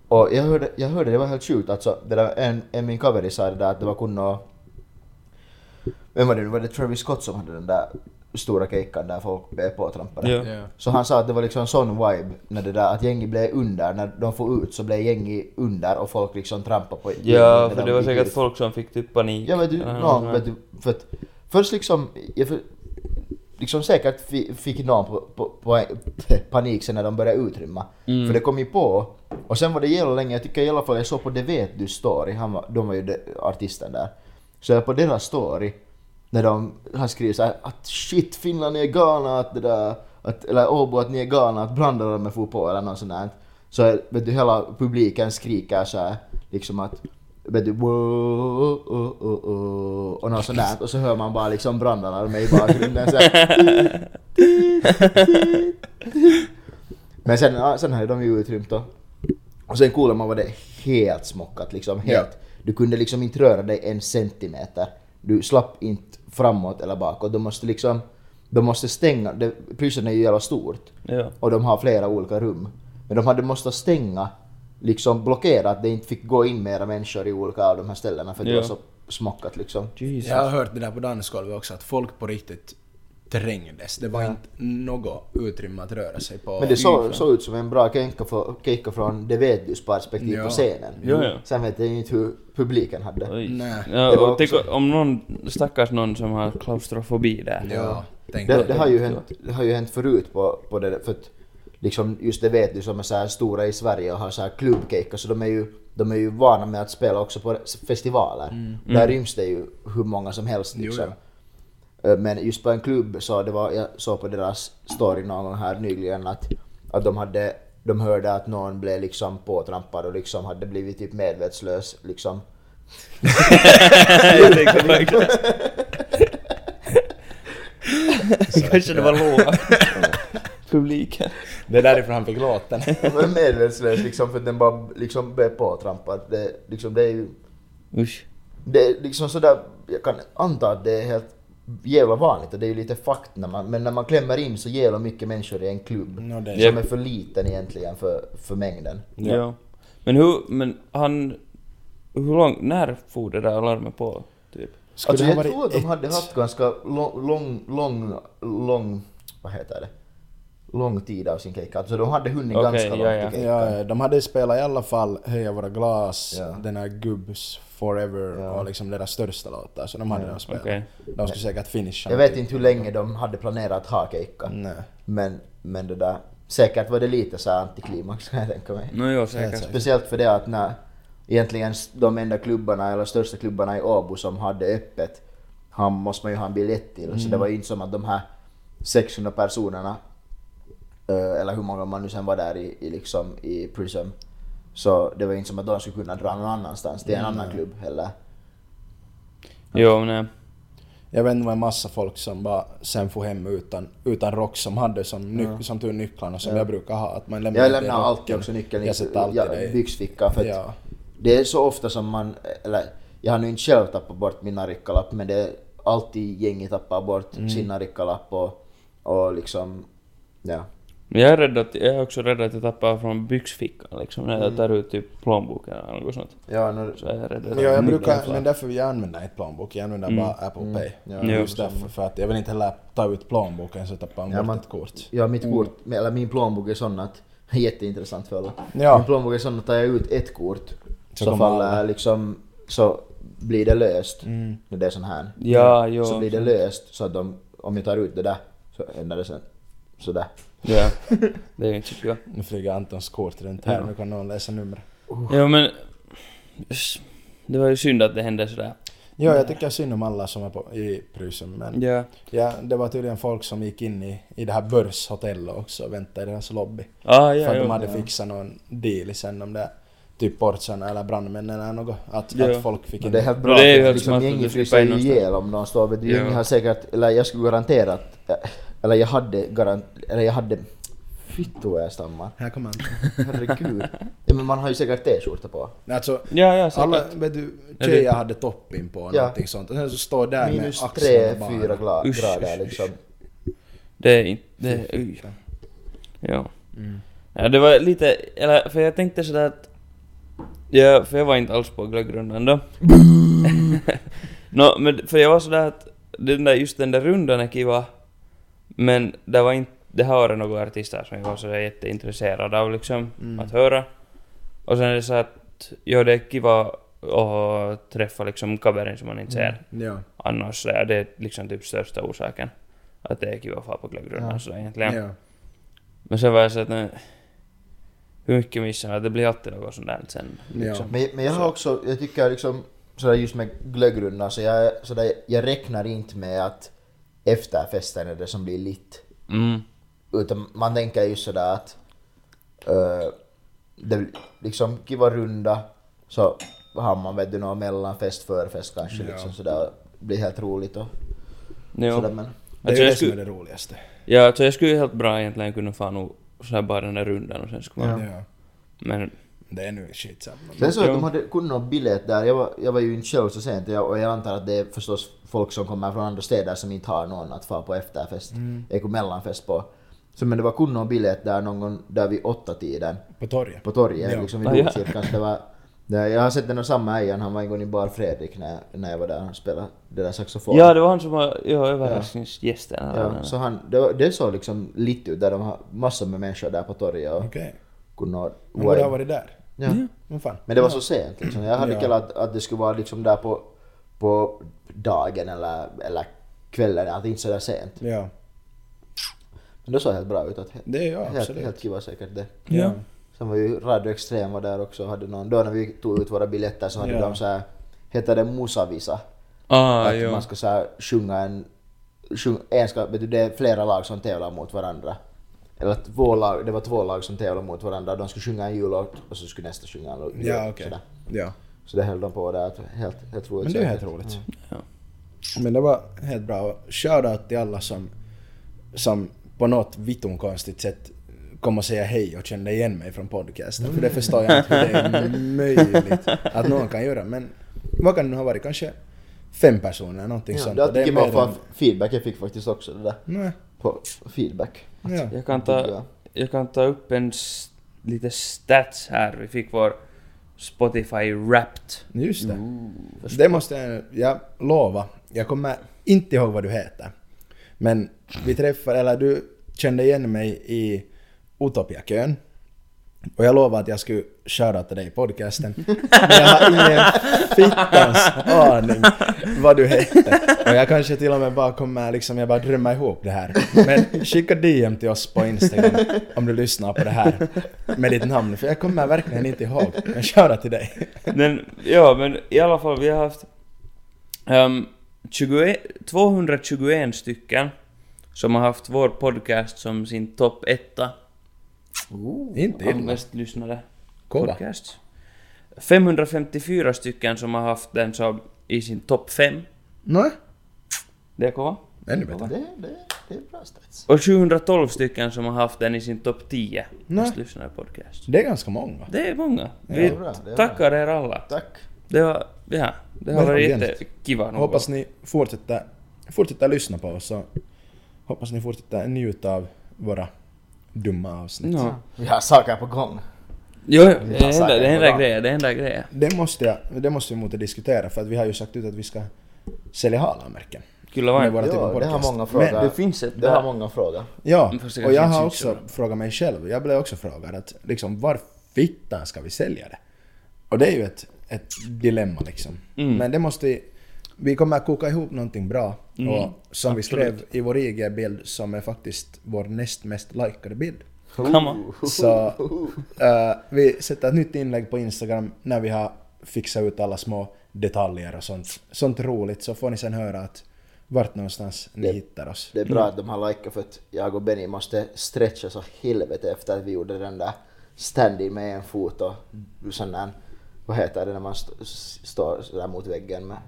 Och jag hörde, jag hörde det var helt sjukt alltså, det där, en, en min coveris sa det där att det var kun och... Vem var det nu? Var det Travis Scott som hade den där stora keikan där folk blev påtrampade?
Ja.
Ja.
Så han sa att det var liksom sån vibe när det där att gänget blev under, när de får ut så blev gänget under och folk liksom trampade på
Ja,
när
för
de
det var
gick
säkert
ut.
folk som fick typ panik.
Ja men du,
Eller
någon,
något
vet du, för att först liksom, jag för, liksom säkert fi, fick någon på, på, på panik sen när de började utrymma.
Mm.
För det kom ju på, och sen var det jävla länge, jag tycker i alla fall jag såg på Det vet du story, han var, de var ju de, artisten där. Så jag på deras story, när de, han skriver såhär att shit Finland är galna, att det där, att, eller Åbo att ni är galna, att brandarna får på eller något sånt där. Så vet du, hela publiken skriker så här, liksom att vet du, "Whoa, oh, oh, oh, oh", och något sånt där. Och så hör man bara liksom brandalarmer i bakgrunden så här. Men sen, ja, sen hade de ju utrymt då. Och sen Kuulemma var det helt smockat liksom. Helt. Du kunde liksom inte röra dig en centimeter. Du slapp inte framåt eller bakåt. De måste liksom... De måste stänga... det- Prison är ju jävla stort.
Ja.
Och de har flera olika rum. Men de hade måste stänga, liksom blockera att det inte fick gå in mera människor i olika av de här ställena för att
Ja.
det var så smockat liksom.
Jag har hört det där på dansgolvet också, att folk på riktigt trängdes. Det var inte något utrymme att röra sig på.
Men det såg så ut som en bra kenka för- keikka från det vet dus perspektiv
Ja.
på scenen.
Ja, ja.
Sen vet jag ju inte hur publiken hade.
Oj.
Nej.
Ja,
Det var
och tänk
också-
om någon, stackars någon som har klaustrofobi där.
Ja, tänkte
Det, det,
jag.
har ju hänt, det har ju hänt förut på, på det där, för att liksom just det vet du som är så här stora i Sverige och har så här klubbkejkar så de är ju de är ju vana med att spela också på festivaler. Där ryms det ju hur många som helst
Jo,
liksom. Eh, Men just på en klubb så det var, jag såg på deras story någon gång här nyligen att, att de hade, de hörde att någon blev liksom påtrampad och liksom hade blivit typ medvetslös liksom.
jag tänkte faktiskt... Kanske det var låga. Publiken.
Det är därifrån han fick låten.
De var medvetslös liksom för att den bara liksom blev påtrampad. Det, liksom, det är ju
Usch.
Det är liksom sådär, jag kan anta att det är helt jävla vanligt och det är ju lite fakt när man, men när man klämmer in så jävla mycket människor i en klubb
No, det är
Mm. Japp.
som är för liten egentligen för, för mängden.
Ja. Men hur, men han... Hur lång, när for det där alarmet på? Typ?
Skulle
Alltså
det ha varit
jag tror att de hade
ett?
haft ganska lång, lång, lång, lång vad heter det? Lång tid av sin kejka, alltså de hade hunnit
Okej,
ganska
ja, ja.
långt i kejkan.
Ja, ja, de hade spelat i alla fall Höja våra glas,
Ja.
den här Gubbs Forever
Ja.
och liksom deras största låtar. Så de hade de spelat.
Okej.
De skulle säkert finisha.
Jag vet inte hur länge de hade planerat att ha kejka,
Nej.
men, men det där, säkert var det lite så här antiklimax kan jag tänka mig.
Nå jo, säkert.
Speciellt för det att när egentligen de enda klubbarna, eller största klubbarna i Åbo som hade öppet, han måste man ju ha en biljett till.
Mm.
Så det var ju inte som att de här 600 personerna, eh, eller hur många man nu sen var där i, i, liksom, i Prism, så det var ju inte som att de skulle kunna dra någon annanstans till en annan klubb heller.
Jo, nej.
Jag vet inte, det var en massa folk som bara sen får hem utan, utan rock som hade som, ny, som tog nycklarna som jag brukar ha. Att man lämnar
Jag
inte
lämnar
rocken.
alltid också nyckeln i
Jag sätter alltid
ja,
det i-
byxfickan för att
Ja.
det är så ofta som man, eh, eller jag har nu inte själv tappat bort min narikkalapp men det är alltid gänget tappar bort sin narikkalapp och, och liksom, ja.
Men jag är rädd att, jag är också rädd att jag tappar från byxfickan liksom när
Mm.
jag tar ut typ plånboken eller något sånt.
Ja, nu,
Så jag är rädd att
Ja, jag
Mm.
brukar, men därför vill jag använda inte plånbok, jag
Mm.
använder bara Apple Pay.
Ja,
Just därför, för att jag vill inte heller ta ut plånboken så tappar man
Ja,
bort
man-
ett kort.
ja mitt kort, eller min plånbok är sån att, jätteintressant för alla.
Ja.
Min plånbok är sån att tar jag ut ett kort
Så
så,
kommer
faller
alla. Mm.
liksom, så blir det löst. När det är sån här.
Ja, jo.
Så blir det löst så att de, om jag tar ut det där så ändrar det sen sådär.
Ja. Det är ju inte så kul.
Nu flyger Antons kort runt här, nu kan någon läsa numret.
Ja, men... Det var ju synd att det hände sådär.
Ja, jag tycker synd om alla som är på, i Prusum, men
Ja.
ja, det var tydligen folk som gick in i, i det här börshotellet också och väntade i deras lobby.
Ah,
för
ja,
att de
jo.
hade fixat någon deal sen, de där typ portsarna eller brandmännen eller något. Att,
Ja.
att folk fick
Men det är
in...
helt bra,
Det är ju
för
helt
liksom,
smart att du
gänget
slipper
fryser
in
ju
någonstans.
ihjäl om någon står vid
Ja.
Gänget har säkert, eller jag skulle garanterat, eller jag hade garant, eller jag hade Fittu vad jag stammar.
Här kommer han.
Herregud. Ja, men man har ju säkert t-skjorta på.
Alltså,
Ja, ja, säkert.
alla, vet du, tjejer hade toppin på och
Ja.
någonting sånt. Och sen så står där med
Minus
axlarna
3,
bara.
4
Usch,
grader
usch,
liksom.
Det är inte... Det är, uj. Ja.
Mm.
ja. Det var lite... Eller, för jag tänkte sådär att... Ja, för jag var inte alls på glöggrundan då. Nå, men för jag var sådär att... Den där, just den där rundan är kiva. Men det var inte... Det här året några artister som jag var sådär jätteintresserad av liksom. Att höra. Och sen är det så att... Ja, det är kiva att träffa liksom coveren som man inte ser
Ja.
annars. Ja, det är liksom typ största orsaken. Att det är kul att fara på glöggrundan
Ja.
sådär egentligen.
ja.
Men sen var jag så att nej, hur mycket missar jag? Det blir alltid något sånt där sen. Liksom.
Men, men jag har också, jag tycker liksom sådär just med glöggrundan så jag, är- sådär, jag räknar inte med att efterfesten är det som blir litt.
Mm.
Utan man tänker ju sådär att eh, det blir liksom kiva runda så har man vet du någon mellanfest, förfest kanske
Ja.
liksom sådär. Blir helt roligt och
Jo.
sådär men.
Det är ju
Alltså, jag,
det som är
skulle,
det roligaste.
ja, alltså, jag skulle ju helt bra egentligen kunna fara nog sådär bara den där rundan och sen skulle man...
Ja.
Men...
Det är nu skitsamma.
Sen såg jag att de
Jo.
hade kunde någon biljett där. Jag var, jag var ju inte själv så sent och jag, och jag antar att det är förstås folk som kommer från andra städer som inte har någon att fara på efterfest. Mm. mellanfest på. Så, men det var kunde någon biljett där någon gång där vid åtta tiden
På torget.
på torget,
Ja.
liksom vid
Ah, ja.
domkyrkan. Så det var, det, jag har sett den och samma ägaren, han var en gång i Bar Fredrik när, när jag var där och spelade det där saxofon.
Ja, det var han som var ja, överraskningsgästen. eller vad det
ja,
var.
så han, det, var, det såg liksom lite ut där de har massor med människor där på torget och
Okej.
kunde ha-
Man borde ha varit där.
ja.
Men fan.
Men det var så sent liksom. Jag hade
Ja.
kallat att, att det skulle vara liksom där på, på dagen eller, eller kvällen, att inte sådär sent.
Ja.
Men det såg helt bra ut. Att, he-
Det är jag
helt,
absolut.
helt kiva säkert det.
Ja.
Sen var ju Radio Extrem var där också och hade någon, då när vi tog ut våra biljetter så hade
Ja.
de såhär, heter det musavisa?
Ah,
att
jo.
man ska såhär sjunga en, sjung, en ska, vet du, det är flera lag som tävlar mot varandra. Eller två lag, det var två lag som tävlade mot varandra, de skulle sjunga en jullåt och så skulle nästa sjunga en jullåt.
Ja, okej.
sådär.
Ja.
Så det höll de på där, att helt, helt roligt.
Men det är
säkert.
helt roligt.
Ja.
Men det var helt bra. Och Shoutout till alla som, som på något vitton konstigt sätt kom och säga hej och kände igen mig från podcasten. För det förstår jag inte hur det är möjligt att någon kan göra. Men vad kan det nu ha varit? Kanske fem personer, någonting
Ja,
sånt.
det
liksom. Och är
tycker man
mer
får
än-
feedback. Jag fick faktiskt också det där.
Nej,
På feedback.
ja.
Jag kan ta, jag kan ta upp en s- lite stats här. Vi fick vår Spotify Wrapped.
Just det. det måste jag, jag lova. Jag kommer inte ihåg vad du heter. Men vi träffade, eller du kände igen mig i Utopia-kön. Och jag lovade att jag skulle shoutouta dig i podcasten. Men jag har ingen fittans aning vad du hette. Och jag kanske till och med bara kommer liksom, jag bara drömmer ihop det här. Men skicka DM till oss på Instagram om du lyssnar på det här med ditt namn. För jag kommer verkligen inte ihåg. Men shoutout till dig.
Men ja, men i alla fall vi har haft ehm, 20, 221 stycken som har haft vår podcast som sin topp etta
Inte
av
illa.
mest lyssnade
Kova.
podcast. 554 stycken som har haft den som i sin topp fem.
Nej,
Det är kova.
ännu bättre.
Det, det, det är bra stats.
Och 712 stycken som har haft den i sin topp 10
Nej.
mest lyssnade podcast.
Det är ganska många.
Det är många.
det
Vi
är bra, det är bra.
tackar er alla.
Tack.
Det var, ja, det har
Men
varit
jämnt.
jättekiva. nog.
Hoppas ni fortsätter, fortsätter lyssna på oss och hoppas ni fortsätter njuta av våra dumma avsnitt.
Ja.
Vi har saker på gång.
Jo, jo, det är
passar
enda, det är
jävla
enda
bra.
grejen, det är enda grejen.
Det måste, jag, det måste vi måste diskutera för att vi har ju sagt ut att vi ska sälja halamärken.
Kyllä
Med
vain.
våra
Ja, det har många frågor.
Men,
det finns ett
Det
där.
har många frågor.
ja,
Men först det
och jag
kanske
har
inte syns
också frågat mig själv. Jag blev också frågad att liksom var fittan ska vi sälja det? Och det är ju ett, ett dilemma liksom.
Mm.
Men det måste vi- vi kommer att koka ihop någonting bra.
Mm.
och som vi skrev i vår IG-bild som är faktiskt vår näst mest likade bild.
Come on.
Så eh, vi sätter ett nytt inlägg på Instagram när vi har fixat ut alla små detaljer och sånt. Sånt roligt så får ni sen höra att vart någonstans ni hittar oss.
Det är bra att de har likat för att jag och Benny måste stretcha så helvete efter att vi gjorde den där stand-in med en fot och sån där, vad heter det när man st- s- står sådär mot väggen med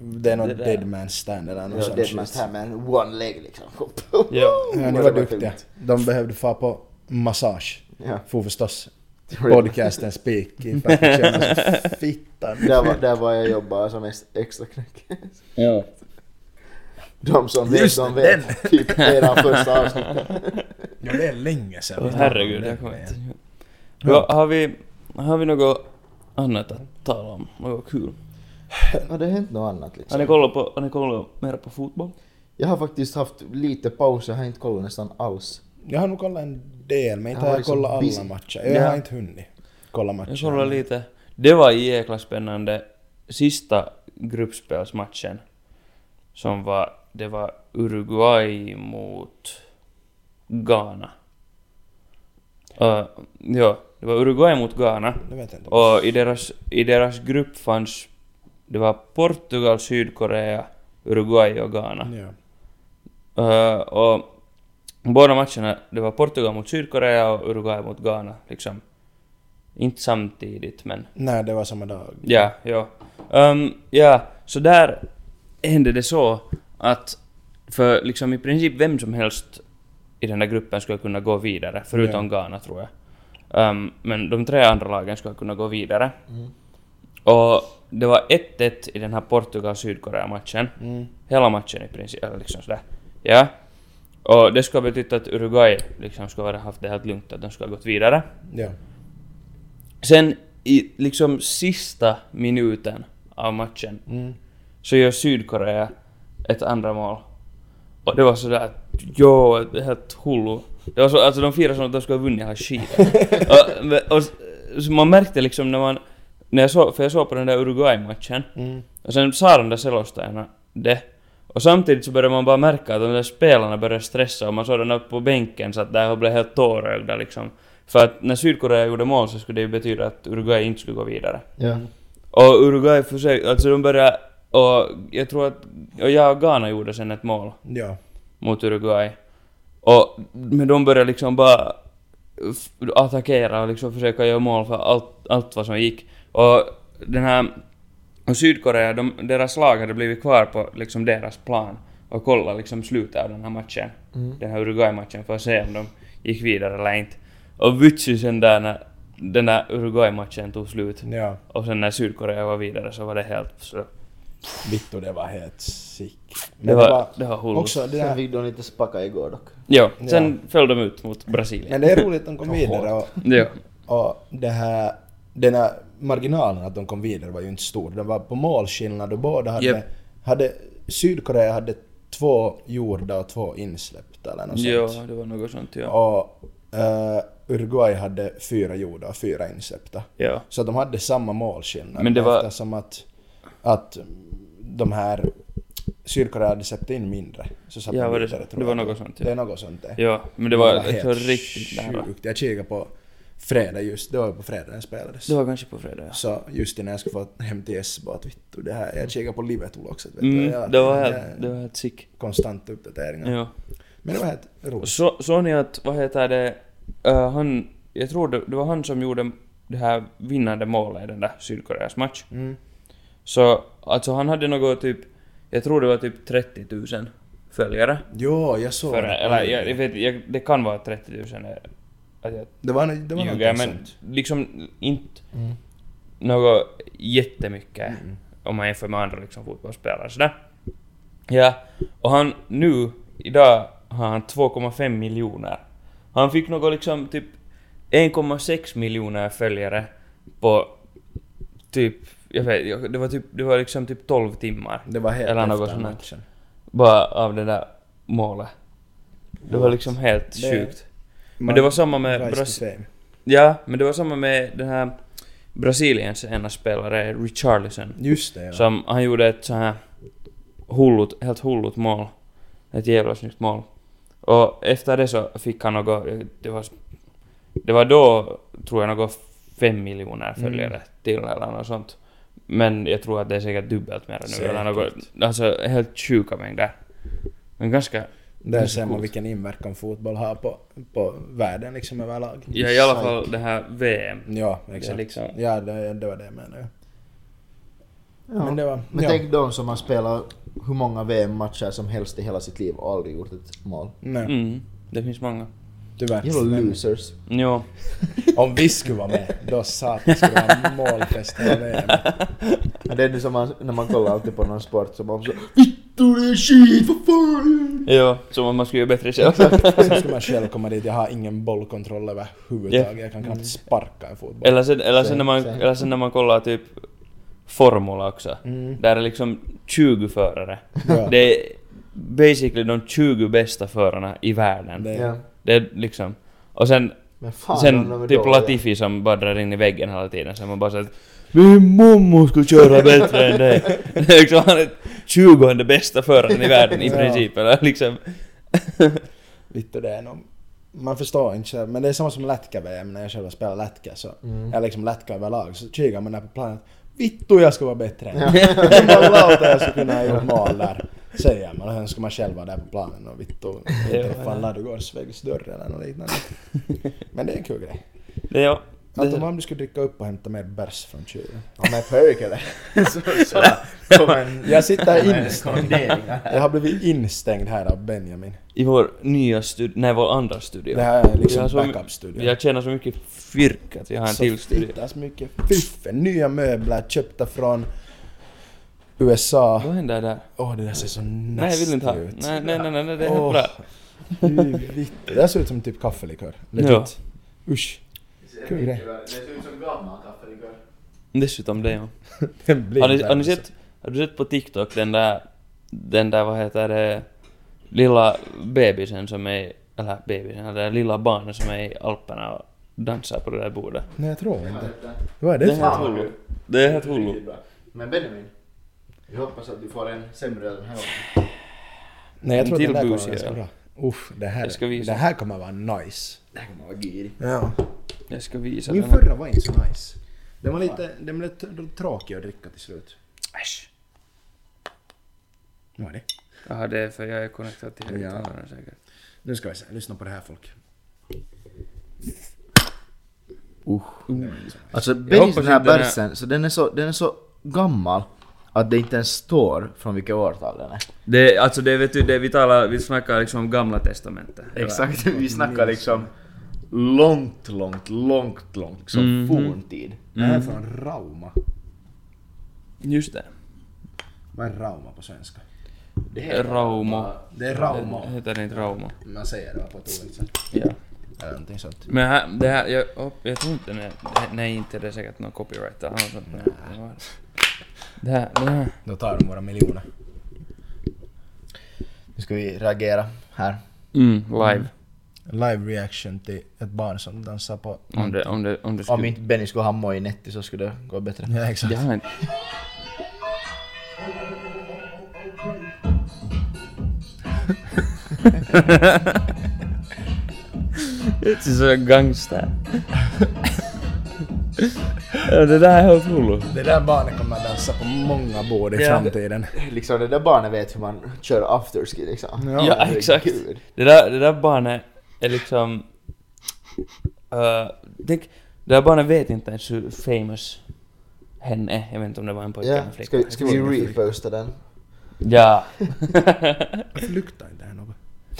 Det är något
Det där.
dead man stand eller något
ja,
sånt
dead
shit.
man stand med en one leg liksom.
Ja.
Ja, ni var duktiga. De behövde få på massage.
Ja.
Får förstås
Det var-
podcasten speak in för att jag känner så fittan.
Där var, där var jag jobbade som ex- extra knäck.
Ja.
De som vet,
Just
som
det,
vet. Typ redan första avsnittet.
Ja, det är länge sedan.
Åh,
vi pratade om
herregud,
det.
jag kommer inte ihåg. Ja, har vi, har vi något annat att tala om? Något kul?
Har det hänt något annat
Har ni
liksom?
kollat på, har ni kollat mer på fotboll?
Jag har faktiskt haft lite paus, jag har inte kollat nästan alls.
Jag har nog kollat en del, men inte har
Jag var
jag
liksom
kollat alla
busy.
matcher. Jag
Ja.
har inte hunnit kolla matcher.
Jag kollade lite. Det var jäkla spännande. Sista gruppspelsmatchen som var, det var Uruguay mot Ghana. Uh, ja, det var Uruguay mot Ghana.
Det vet jag inte.
Och i deras, i deras grupp fanns, det var Portugal, Sydkorea, Uruguay och Ghana.
Ja.
Eh, och båda matcherna, det var Portugal mot Sydkorea och Uruguay mot Ghana. Liksom. Inte samtidigt, men
Nej, det var samma dag.
ja, ja. Ehm, ja, så där hände det så att för liksom i princip vem som helst i den där gruppen skulle kunna gå vidare, förutom Ghana tror jag. Ehm, men de tre andra lagen skulle kunna gå vidare. Och det var 1-1 i den här Portugal-Sydkorea-matchen.
Mm.
Hela matchen i princip, eller liksom sådär. Ja. Och det skulle ha betytt att Uruguay liksom skulle ha haft det helt lugnt, att de skulle ha gått vidare.
Ja.
Sen i liksom sista minuten av matchen
Mm.
så gör Sydkorea ett andra mål. Och det var sådär att jo, det är helt hullu. Det var så, alltså de firade som att de skulle ha vunnit hela skiten. och, men- och, s- så man märkte liksom när man, när jag såg, för jag såg på den där Uruguay-matchen
Mm.
och sen sa de där selostajana det. Och samtidigt så började man bara märka att de där spelarna började stressa och man såg den uppe på bänken så att där blev helt tårögda liksom. För att när Sydkorea gjorde mål så skulle det ju betyda att Uruguay inte skulle gå vidare.
Ja.
Och Uruguay försökte, alltså de började... Och jag tror att... Och jag och Ghana gjorde sen ett mål
Ja.
mot Uruguay. Och, men de började liksom bara f- attackera och liksom försöka göra mål för allt, allt vad som gick. Och den här... Och Sydkorea, de, deras lag hade blivit kvar på liksom deras plan och kolla liksom slutet av den här matchen. Den här Uruguay-matchen för att se om de gick vidare eller inte. Och vitsen sen där när den där Uruguay-matchen tog slut.
Ja.
Och sen när Sydkorea var vidare så var det helt... Så,
Vittu, det var helt sick. Men
det, var, det var hullu.
också det
Sen
där...
fick de lite spacka igår dock.
Ja, sen föll de ut mot Brasilien.
Men det är roligt att de kom vidare och,
Ja.
och det här... Den här marginalen att de kom vidare var ju inte stor. Den var på målskillnad och båda hade...
Japp.
hade Sydkorea hade två gjorda och två insläppta eller något
Ja,
sånt.
det var något sånt ja.
Och eh, Uruguay hade fyra gjorda och fyra insläppta.
Ja.
Så de hade samma målskillnad.
Men det var-
Eftersom att, att de här Sydkorea hade släppt in mindre. Så satt
Ja,
de
var det
vidare,
så?
tror
Det var
jag.
något sånt, ja.
Det är något sånt det.
Ja, men det var,
helt
det var riktigt nära.
sjukt. Jag kikade på fredag just, det var ju på fredag den spelades.
Det var kanske på fredag ja.
Så just innan jag skulle få hem till S bara att vittu det här. Jag kikade på Liverpool-loxet vet du.
Mm,
Jag-
det var
jag-
helt, det var helt sick.
Konstanta uppdateringar.
Ja.
Men det var helt roligt.
Så, såg ni att, vad heter det, eh, han, jag tror det, det var han som gjorde det här vinnande målet i den där Sydkoreas match.
Mm.
Så, alltså han hade något typ, jag tror det var typ 30 000 följare.
Jo, jag såg
För,
det.
eller jag, jag vet, jag, det kan vara 30 000 är- att jag
Det var, det var
ljuger,
någonting
men
sånt.
liksom inte
Mm.
något jättemycket om man jämför med andra liksom, fotbollsspelare sådär. Ja, och han nu, idag, har han 2,5 miljoner. Han fick något liksom typ 1,6 miljoner följare på typ, jag vet jag- det var typ, det var liksom typ 12 timmar.
Det var helt
Eller något
efter
sånt.
matchen.
Bara av det där målet. Det var liksom helt
Det-
sjukt. Men det var samma med
Rise to
Brasilien.
fame.
Ja, men det var samma med den här Brasiliens ena spelare, Richarlison.
Just det, ja.
Som han gjorde ett så här hullut, helt hullut mål. Ett jävla snyggt mål. Och efter det så fick han något, det var, det var då tror jag något fem miljoner
Mm.
följare till eller något sånt. Men jag tror att det är säkert dubbelt mer nu. Eller något, alltså helt sjuka mängder. Men ganska...
Där
ganska
ser man
coolt.
vilken inverkan fotboll har på, på världen liksom överlag.
Ja, i alla fall det här VM.
Ja,
Det är
exakt.
liksom,
Ja, det, det var det jag menade.
Ja.
Men det var...
Men
ja.
tänk de som har spelat hur många VM-matcher som helst i hela sitt liv och aldrig gjort ett mål.
Nej.
mm, det finns många.
Tyvärr.
Jävla
Men
losers.
Jo.
Om vi skulle vara med, då satan skulle det vara målfest hela VM.
Men det är nu som man, när man kollar alltid på någon sport så man så Vittu det är skit, vad fan!
Jo, som om man skulle göra bättre själv.
Sen skulle man själv komma dit, jag har ingen bollkontroll överhuvudtaget. Jag kan knappt sparka en fotboll.
Eller sen, eller, sen när man,
Se- se.
eller sen när man kollar typ Formula också. Där är liksom 20 förare.
Ja.
Det är basically de 20 bästa förarna i världen.
Det-
Ja.
Det är liksom... Och sen,
Men fan, de- de
sen
är
typ
dåliga.
Latifi som bara drar in i väggen hela tiden. Sen man bara såhär Min mamma ska köra bättre än dig. Det är liksom han är 20 bästa föraren i världen i
Ja.
princip. Eller liksom...
Vittu det är nog... Man förstår inte själv, men det är samma som lätka-VM när jag själv spelar lätka så...
Mm.
Eller liksom lätka överlag, så kikar man där på planet. Vittu jag ska vara bättre!
Ja.
Vad lauta jag skulle kunna ha gjort mål där. Säger man och sen ska man själv vara där på planen och vittu... Inte
Ja.
fan ladugårdsväggsdörr eller något liknande. Men det är en kul grej.
Det, ja,
Anton, vad om du skulle dricka upp och hämta mer bärs från kylen?
Ja, Med perk eller? Så- Sådär. Kommer en-
Jag sitter här
kommer en
instängd.
kommenderingar här.
Jag har blivit instängd här av Benjamin.
I vår nya studio, nej vår andra studio.
Det här är liksom
Jag har så my-
backup-studio.
Jag tjänar så mycket fyrk att jag har en
Så
till studio.
fittas mycket fiffen. Nya möbler köpta från USA.
Vad händer där?
Åh, det där ser så
Nej, jag vill
nasty
inte ha.
ut.
Nej, nej, nej, nej, nej det är
Åh.
helt bra.
Fy vitt. Det där ser ut som typ kaffelikör. Legit.
Ja.
Usch. Kul grej.
Det ser ut som gammal kaffelikör.
Dessutom det ja.
Den blir
Har ni,
värre
har ni
så.
sett, har du sett på TikTok den där, den där vad heter det, lilla bebisen som är, eller bebisen, eller det där lilla barnet som är i Alperna och dansar på det där bordet.
Nej, jag tror inte. Vad är det
Det här-
för?
Hullu. Det är helt hullu.
Men Benjamin, vi hoppas att du får en sämre den här gången.
Nej, jag tror att
Till
den där kommer
bus,
vara ganska
ja.
bra. Usch, det här,
Jag ska visa.
det här kommer vara nice.
Det här kommer vara girig.
Ja.
Jag ska visa
Min
den här.
förra var inte så nice. Den var lite, den blev t- tråkig att dricka till slut. Äsch. Vad var det?
Jaha det är för jag är connectad till
Ja.
högtalaren säkert.
Nu ska vi se, lyssna på det här folk.
Alltså
hoppas
Bennys den här
inte den är-
bärsen, så den är så, den är så gammal att det inte ens står från vilket årtal den är.
Det, är- alltså det vet du, det vi talar, vi snackar liksom om gamla testamentet. eller?
Exakt, vi snackar liksom långt, långt, långt, långt liksom som forntid.
Det här är
Mm.
från Rauma.
Just det.
Vad är Rauma på svenska?
Det
Raumo.
Det är
Det
Rauma.
heter det inte Raumo?
Man säger det bara på ett ord sen.
Ja.
Eller någonting sånt.
Men här, det här, jag, hopp, jag tror inte den är, nej inte det är säkert någon copyright eller något sånt. men det var- Det här, det här.
Då tar de våra miljoner.
Nu ska vi reagera här.
Mm, live.
Live reaction till ett barn som dansar på...
Om det, om det, om det
Om
skulle...
inte Benny skulle ha Moinetti så skulle det gå bättre.
Ja exakt.
Jag har inte... Det är så gangster. Ja, det där är helt hullu.
Det där barnet kommer att dansa på många bord i
Ja.
framtiden.
Liksom det där barnet vet hur man kör afterski liksom.
Ja,
Ja, exakt. Det där, det där barnet är liksom... Uh, tänk, det där barnet vet inte ens hur famous hen är. Jag vet inte om det var en pojke eller en
Ja,
flicka.
ska, ska vi reposta den?
Ja.
Varför luktar inte det här något?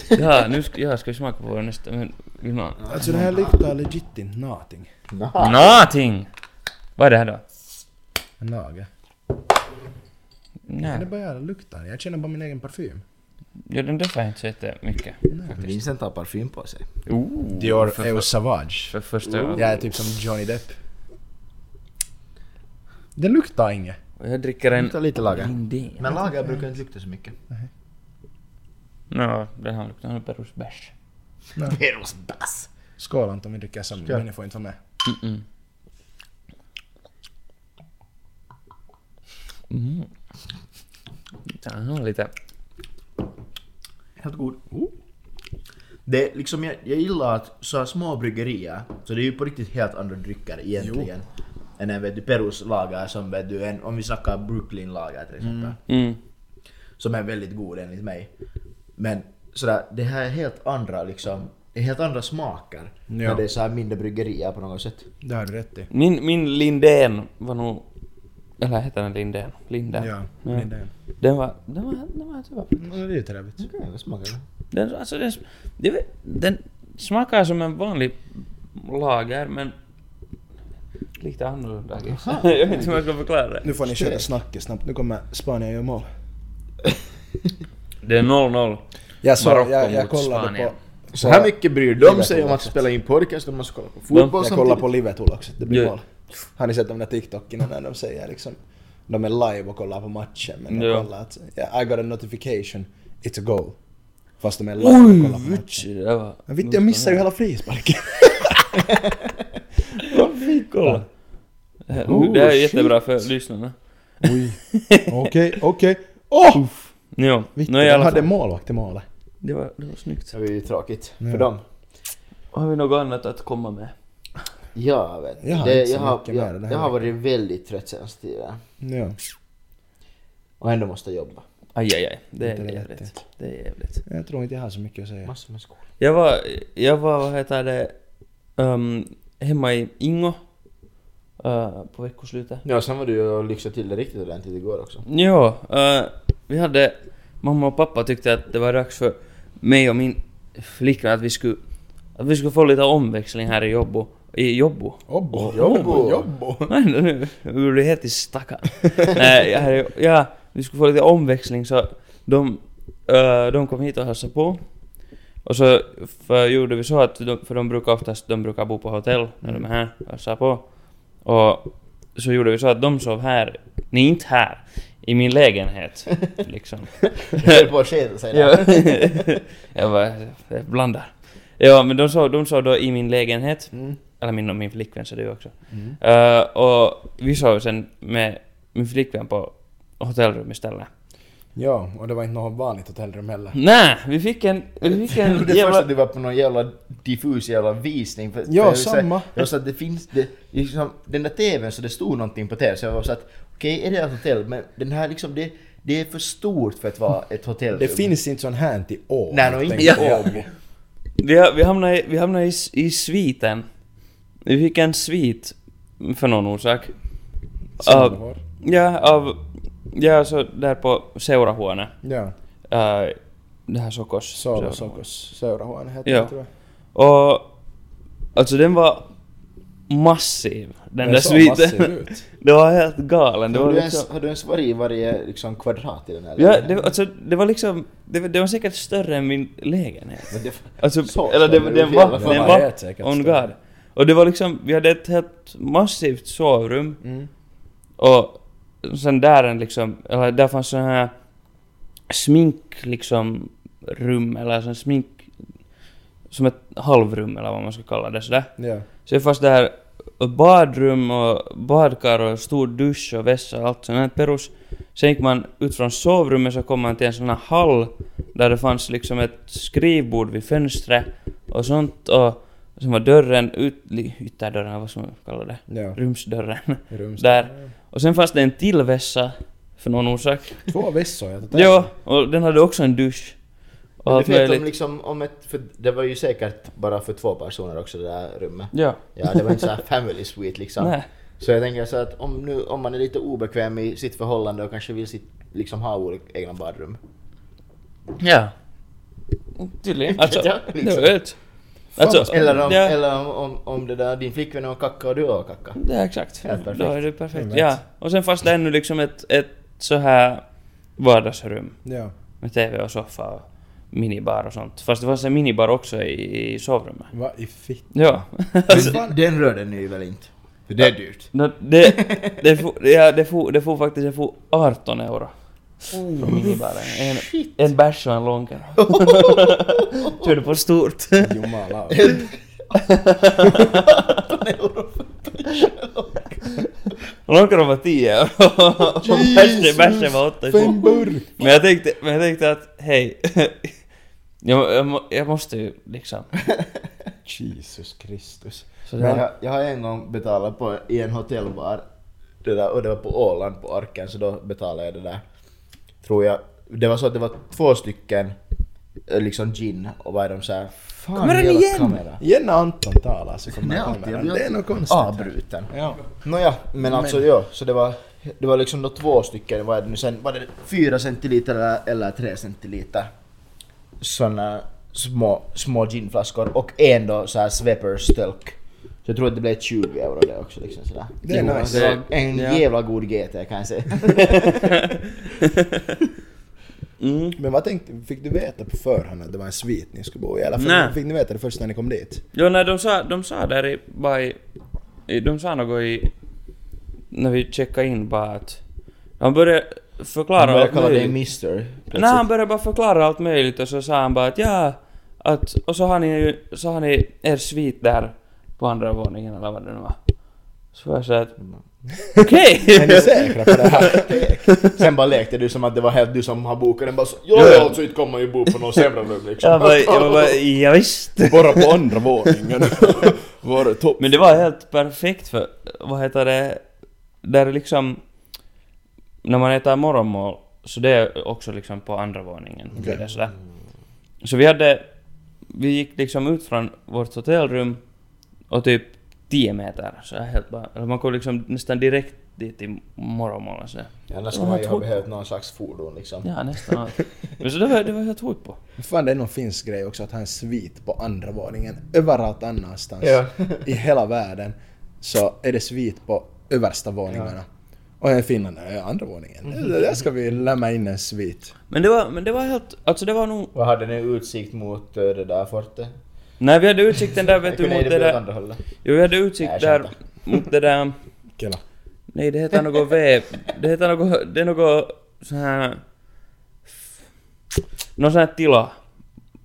ja, nu ska, ja, ska vi smaka på vår nästa... Men, vill man?
Alltså det här luktar legit inte någonting.
Naha.
Någonting! Vad är det här då?
En nagel.
Nej,
Men det börjar lukta. Jag känner bara min egen parfym.
ja, den doftar inte så jättemycket.
Vincent har parfym på sig. Oh.
Ooh,
Dior
för,
Eau
för,
Savage.
för första
Jag är typ som Johnny Depp. Det luktar inget.
Jag dricker en...
Luktar lite lager.
Lindén.
Men lager brukar inte lukta så mycket.
Nå, den här luktar nog perusbärs.
Perus bass!
Skål Anton, vi dricker samma.
Skål.
Men ni får inte vara med.
Mm-mm. Mm. Den har lite...
Helt god. Det är liksom, jag, jag gillar att så här små bryggerier, så det är ju på riktigt helt andra drycker egentligen. Än en vet du Perus lager som vet du, en, om vi snackar Brooklyn lager till exempel.
Mm.
Som är väldigt god enligt mig. Men sådär, det här är helt andra liksom, det är helt andra smaker. När det är så här mindre bryggerier på något sätt.
Det har du rätt i.
Min, min Lindén var nog... Eller heter den Lindén? Lindén.
Ja, det är det.
Den var... Den var... Den var typ...
Mm, Det är ju trevligt.
Okej, vad smakar det?
Den, alltså den... Jag vet, den smakar som en vanlig lager, men lite annorlunda. jag vet inte hur jag ska förklara det.
Nu får ni köra snacket snabbt, nu kommer Spanien göra mål.
Det är 0-0.
Jag, så,
Marocko
jag, jag
mot
kollade
Spanien.
på...
Så här mycket bryr de sig om att
Liverpool-matchen.
spela in podcast, de måste kolla på fotboll
Jag kollar
samtidigt.
på Liverpool också, det blir
Ja.
mål. Har ni sett de där TikTokerna när de säger liksom... De är live och kollar på matchen men
Ja.
de kollar att yeah, I got a notification, it's a goal. Fast de är live och kollar på matchen.
det var...
Men vitt, jag missar ju hela frisparken.
Vad fick kolla?
Oh,
Det här är
shit.
jättebra för lyssnarna.
Oj. Okej, okej. Åh!
Jo,
Vitt,
nu i
de
alla fall.
hade målvakt i målet.
Det var, det var snyggt.
Det var ju tråkigt
Ja.
för dem.
Har vi något annat att komma med?
Ja, jag vet
Jag har
Det-
inte så
jag, har,
mycket mer den
jag,
här
jag har varit väldigt trött senaste tiden.
Ja.
Och ändå måste jag jobba.
Aj, aj, aj. Det
Inte
är
det
jävligt. Det är jävligt.
Jag tror inte jag har så mycket att säga.
Massor med skor.
Jag var, jag var, vad heter det, ehm, hemma i Ingo. eh, på veckoslutet.
Ja, sen var du ju och lyxade till det riktigt ordentligt igår också.
Ja, eh, vi hade... Mamma och pappa tyckte att det var dags för mig och min flickvän att vi skulle... Att vi skulle få lite omväxling här i Jobbo. I Jobbo?
Jobbo!
Jobbo.
Jobbo!
Nej, nu jag blir helt i stackaren. Nej, jag hade, ja, vi skulle få lite omväxling så de, eh, de kom hit och hälsade på. Och så för, gjorde vi så att, de, för de brukar oftast de brukar bo på hotell när de är här och hälsar på. Och så gjorde vi så att de sov här, nej inte här, i min lägenhet. Liksom.
Jag höll på att skita sig där.
Ja. jag bara, jag blandar. Ja, men de sov, de sov då i min lägenhet.
Mm.
Eller min och min flickvän så du också.
Mm.
Eh, och vi sov sen med min flickvän på hotellrum istället.
Ja, och det var inte något vanligt hotellrum heller.
Mm.
Nej, vi fick en... Vi fick en
Det första
jävla...
du var på någon jävla diffus jävla visning. För,
Ja,
för jag vill säga-
samma.
Jag sa att det finns, det, liksom, den där TVn så det stod någonting på TV så jag var så att okej är det ett hotell men den här liksom det, det är för stort för att vara ett hotellrum.
Det finns inte sån här till år.
Nej, nog inte
tänkte
i
jag.
Åbo.
Vi, ha- vi hamnade, i, vi hamnade i, s- i sviten. Vi fick en svit för någon orsak.
Som
Av-
det var.
ja, av... Ja, så där på Seurahuone.
Ja,
Uh, det här Sokos.
Salo
Seurahuone.
Sokos seurahuone hette
Ja.
det tror jag.
Och... Alltså den var massiv, den
Den
där
såg massiv
sviten.
ut.
Det var helt galen. Det
Har
var
du,
liksom...
ens, har du ens varit i varje liksom, kvadrat i den här
Ja, det,
lägenheten?
var- alltså, det var liksom... Det, var- det var säkert större än min lägenhet.
Men det-
Alltså,
Så
eller det,
större, det
den
var
var,
fel.
den
Fan,
vad
var
det är säkert
on
större.
guard. Och det var liksom, vi hade ett helt massivt sovrum
Mm.
och sen där en liksom, eller där fanns sån här smink liksom rum eller sån smink som ett halvrum eller vad man ska kalla det sådär.
Ja.
Så det fanns där badrum och badkar och stor dusch och vässa och allt sånt här perus. Sen gick man ut från sovrummet så kom man till en sån här hall där det fanns liksom ett skrivbord vid fönstret och sånt och sen var dörren ut, li- ytterdörren, eller vad som man kallar det,
Ja.
rumsdörren.
i rummet.
Där. Och sen fanns det en till vässa för någon orsak.
Två vässor jag tog
Ja, och den hade också en dusch. Och
Men
allt
du vet om
möjligt.
liksom, om ett, för det var ju säkert bara för två personer också det där rummet.
Ja.
Ja, det var inte så här family suite liksom.
Nej.
Så jag tänker så att om, nu, om man är lite obekväm i sitt förhållande och kanske vill sitt, liksom ha olika egna badrum.
Ja. Tydligen. Alltså,
Ja,
det
liksom.
var ett. Alltså,
Eller om,
ja,
eller om, om, om det där, din flickvän är och kacka och du är och kacka.
ja, exakt.
Helt perfekt.
Då är det perfekt.
Helt
Ja. Och sen fanns det ännu liksom ett, ett så här vardagsrum
Ja.
med TV och soffa och minibar och sånt. Fast det fanns en minibar också i, i sovrummet.
Vad i fitt...
Ja.
Alltså-
Den- Den röden är ju väl inte? För det är dyrt.
Nå, det, det, for, ja, det, for, det for faktiskt det for 18 euro.
Oh.
Från minibaren. En, en bärs och en lonken. Körde på stort.
Jumala.
Lonken var 10 euro. Och bärsen- Bärsen var 8
Fem burk!
Men jag tänkte, men jag tänkte att hej, jag, jag, må- jag måste ju liksom.
Jesus Kristus.
Så det,
Jag, jag har en gång betalat på, i en hotellbar, det där, och det var på Åland på Arken, så då betalade jag det där. Tror jag. Det var så att det var två stycken eh, liksom gin och vad är de såhär... Fan,
Kommer den
jävla
igen?
Kamera.
Igen när Anton talar så
Nej,
kommer
alltid.
kameran. Det
Jag blir
är något konstigt.
Avbruten.
Ja.
Nåja, men, alltså ja, så det var, det var liksom då två stycken, vad är det nu sen, var det fyra centiliter eller, eller tre centiliter såna små, små ginflaskor och en då så här Sveppers-stölk. Så jag tror att det blev 20 euro det också liksom sådär.
Det är
Jo,
nice.
det var en
Ja.
jävla god GT kan jag säga.
Mm.
Men vad tänkte, fick du veta på förhand att det var en svit ni skulle bo i? Eller
Nej.
fick, fick ni veta det först när ni kom dit?
Jo, nej, de sa, de sa där i, bara i, i- de sa något i, när vi checkade in bara att, han började förklara
Han började
allt
kalla dig
möjligt.
Mister.
Nej, han började bara förklara allt möjligt och så sa han bara att ja, att, och så har ni ju, så har ni er svit där på andra våningen eller vad det nu var. Så var jag såhär att,
Mm.
okej!
Är ni säkra på det här?
Sen bara lekte du som att det var helt du som har bokat den bara så, Jo,
Jo, jo.
alltså inte kommer ju bo på någon sämre rum liksom.
Jag bara, jag bara, ja, visst.
Bara på andra våningen. Var det topp?
Men det var helt perfekt för, vad heter det, där liksom, när man äter morgonmål, så det är också liksom på andra våningen.
Okej.
Okay. Så, så vi hade, vi gick liksom ut från vårt hotellrum och typ 10 meter, så jag helt bara, eller man kom liksom nästan direkt dit alltså. till morgonmålen så.
Annars skulle man ju ha behövt någon slags fordon liksom.
Ja, nästan allt. Men så det var, det var helt sjukt på.
Fan det är någon finsk grej också att ha en svit på andra våningen. Överallt annanstans
Ja.
i hela världen så är det svit på översta våningarna. Och i Finland är det andra våningen. Det Där ska vi lämna in en svit.
Men det var, men det var helt, alltså det var nog,
Vad hade ni utsikt mot eh, det där fortet?
när vi hade utsikten där vet du
Kunde ni
mot det
det åt
där,
andra hållet?
jo vi hade utsikt
Nej, jag
där mot det där
Kela.
Nej, det heter något V... Det heter något... Det är något så här... Någon sån här tila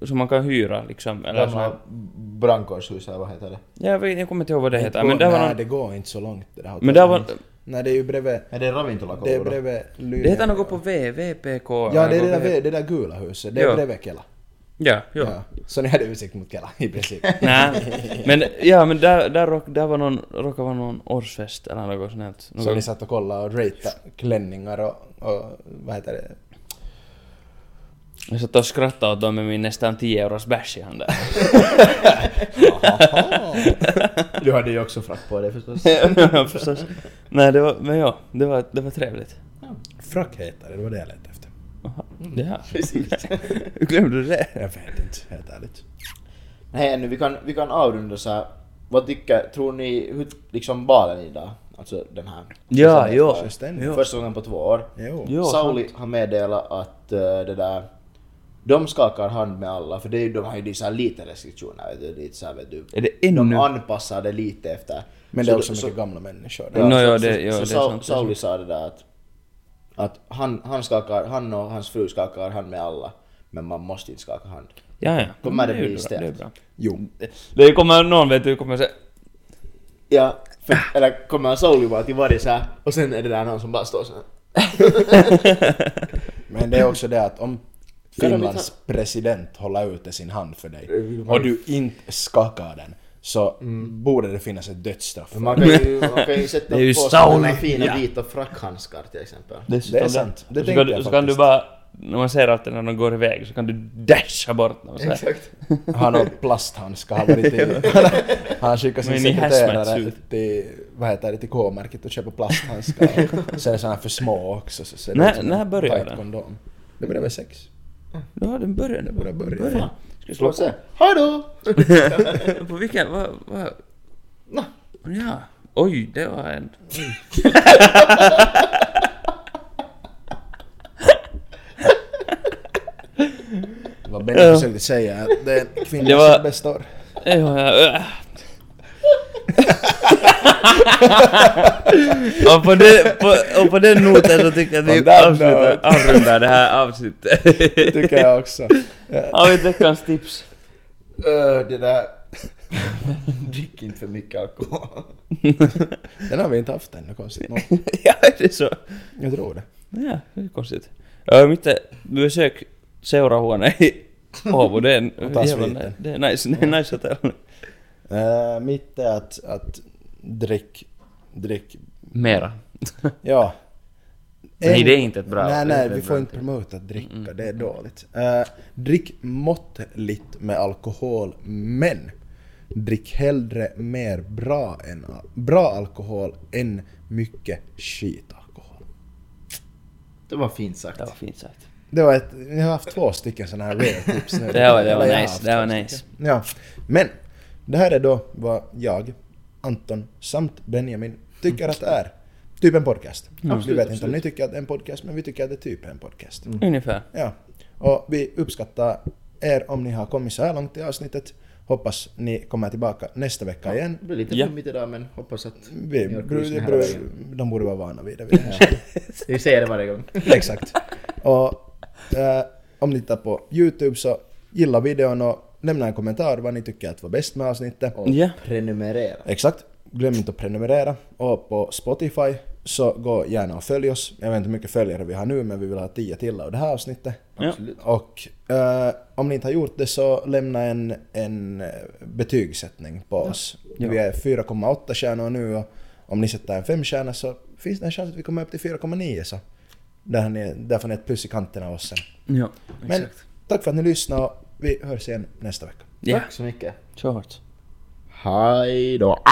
som man kan hyra liksom. Eller sån här,
Gamla brandkårshus eller vad heter det?
jag, vet, jag kommer inte ihåg vad det heter.
Gå-
Men där var
Nej,
någon,
det går inte så långt det där hotellet.
Men där var...
Nej, det är ju bredvid...
Är det
Det är
ravintolakolor?
bredvid Lyne.
Det heter något på V, VPK.
Ja, det är det
något
där,
V-
det där gula huset. Det är
Ja.
bredvid Kela.
Ja, jo.
Ja. Så ni hade utsikt mot Kela i princip.
Nej. Men, ja, men där, där, rock, där var någon... Råkade vara någon årsfest eller något sånt. här. Något,
Så ni satt och kollade och ratade klänningar och, och vad heter det?
Jag satt och skrattade åt dem med min nästan 10 euros bärs i handen.
Du hade ju också frack på dig förstås.
Ja, Förstås. Nej, det var... Men ja, det var, det var trevligt.
Frack heter det, det var det jag letade efter.
Jaha,
Mm.
Ja.
Precis.
Hur glömde du det?
Jag vet inte, helt ärligt.
Nej, nu, vi, kan, vi kan avrunda så här. Vad tycker, tror ni, hur, liksom balen idag? Alltså den här.
Ja,
Som
jo.
är-
Självständigt.
jo.
Första gången på två år.
Jo.
Jo,
Sauli har meddelat att eh, det där... De skakar hand med alla, för det är, ju- de har ju så här lite restriktioner. Vet du, lite så här, vet du.
Är det ännu?
De anpassar det lite efter.
Men det är
Så-
också
så-
mycket gamla människor.
Ja. Nå,
så-
ja,
så-
det- ja,
så
det är
Sau-
sant, det är
Sauli sa det där att, att han, han, skakar, han och hans fru skakar hand med alla, men man måste inte skaka hand.
Ja, ja.
Kommer det
är ju
bli
bra,
stelt?
Det är bra.
Jo.
Det kommer någon vet du kommer säga
Ja, för, eller kommer Sauli bara till varje så här, och sen är det där någon som bara står så här.
Men det är också det att om
Kan de
Finlands president håller ute sin hand för dig och du inte skakar den så borde det finnas ett dödsstraff. för
Man
det.
kan ju, man kan ju sätta
Det är ju
på sig sådana
Sauli.
fina
Ja.
vita frackhandskar till exempel.
Dessutom
Det är sant. Det
så
tänkte
kan, du-
jag
så kan du
faktiskt.
bara, när man ser att den går iväg så kan du dasha bort dem så här.
Exakt.
Han har plasthandskar har varit i. Han skickar sin
Men ni
sekreterare
hazmat-suit.
till, vad heter det, till K-märket och köper plasthandskar. Så är det såna här för små också. Så ser det
När-
ut som
när
en
börjar
tight
den?
Kondom. Det börjar med sex.
Ja, den börjar nu.
börjar börja.
Börja. Ska vi slå
Och så, hej då!
på? På vilken? Vad? vad? Ja. Oj, det var en...
Vad Benny försökte säga är att det är
Det
kvinnor
var-
som består.
Ja, ja, äh. och, på den, på, och på den noten så tycker jag att vi
On that
avslutar,
note.
avrundar det här avsnittet.
Tycker jag också.
Har vi ett veckans tips?
Öh, det där... Drick inte för mycket alkohol.
Den har vi inte haft ännu konstigt nog.
ja, det är så.
Jag tror det.
Ja, det är konstigt. Äh, mitt eh, besök seurahuone i Åbo, det är en
ta
jävla...
sviten.
Det är nice, det är nice hotell.
Eh, mitt är att, att drick, drick,
Mera.
ja.
Nej, det är inte ett bra- det är
Nej, nej,
inte
vi
ett
får
bra
inte
tips.
promota att dricka,
Mm.
det är dåligt. Eh, drick måttligt med alkohol, Mm. men drick hellre mer bra, än, bra alkohol än mycket skitalkohol.
Det var fint sagt.
Det var fint sagt.
Det var ett, jag har haft två stycken sådana här rare tips nu.
Det var, det var
Eller jag har
nice,
haft
det var
två
nice.
Ja, men det här är då vad jag, Anton samt Benjamin tycker att är typ en podcast. vi
Mm. Absolut,
vet inte om
absolut. Mm.
ni tycker att det är en podcast, men vi tycker att det typ är en podcast.
Ungefär.
Ja, och vi uppskattar er om ni har kommit så här långt i avsnittet. Hoppas ni kommer tillbaka nästa vecka igen.
Det blir lite
Ja.
flummigt idag men hoppas att
Vi,
ni orkar
bru-
lyssna
det
hela
bru-
vägen.
de borde vara vana vid det. vid det här.
Vi säger det varje gång.
Exakt. Och eh, om ni tittar på YouTube så gilla videon och lämna en kommentar vad ni tycker att var bäst med avsnittet.
Och
Ja.
prenumerera.
Exakt. Glöm inte att prenumerera. Och på Spotify så gå gärna och följ oss. Jag vet inte hur mycket följare vi har nu men vi vill ha 10 till av det här avsnittet.
Ja.
Absolut.
Och eh, om ni inte har gjort det så lämna en, en eh, betygssättning på oss.
Ja.
Vi är 4,8 stjärnor nu och om ni sätter en 5 stjärna så finns det en chans att vi kommer upp till 4,9 så. Där, har ni, där får ni ett plus i kanten av oss sen.
Ja,
Men tack för att ni lyssnade och vi hörs igen nästa vecka.
Ja,
Tack så mycket.
kört.
Hej då.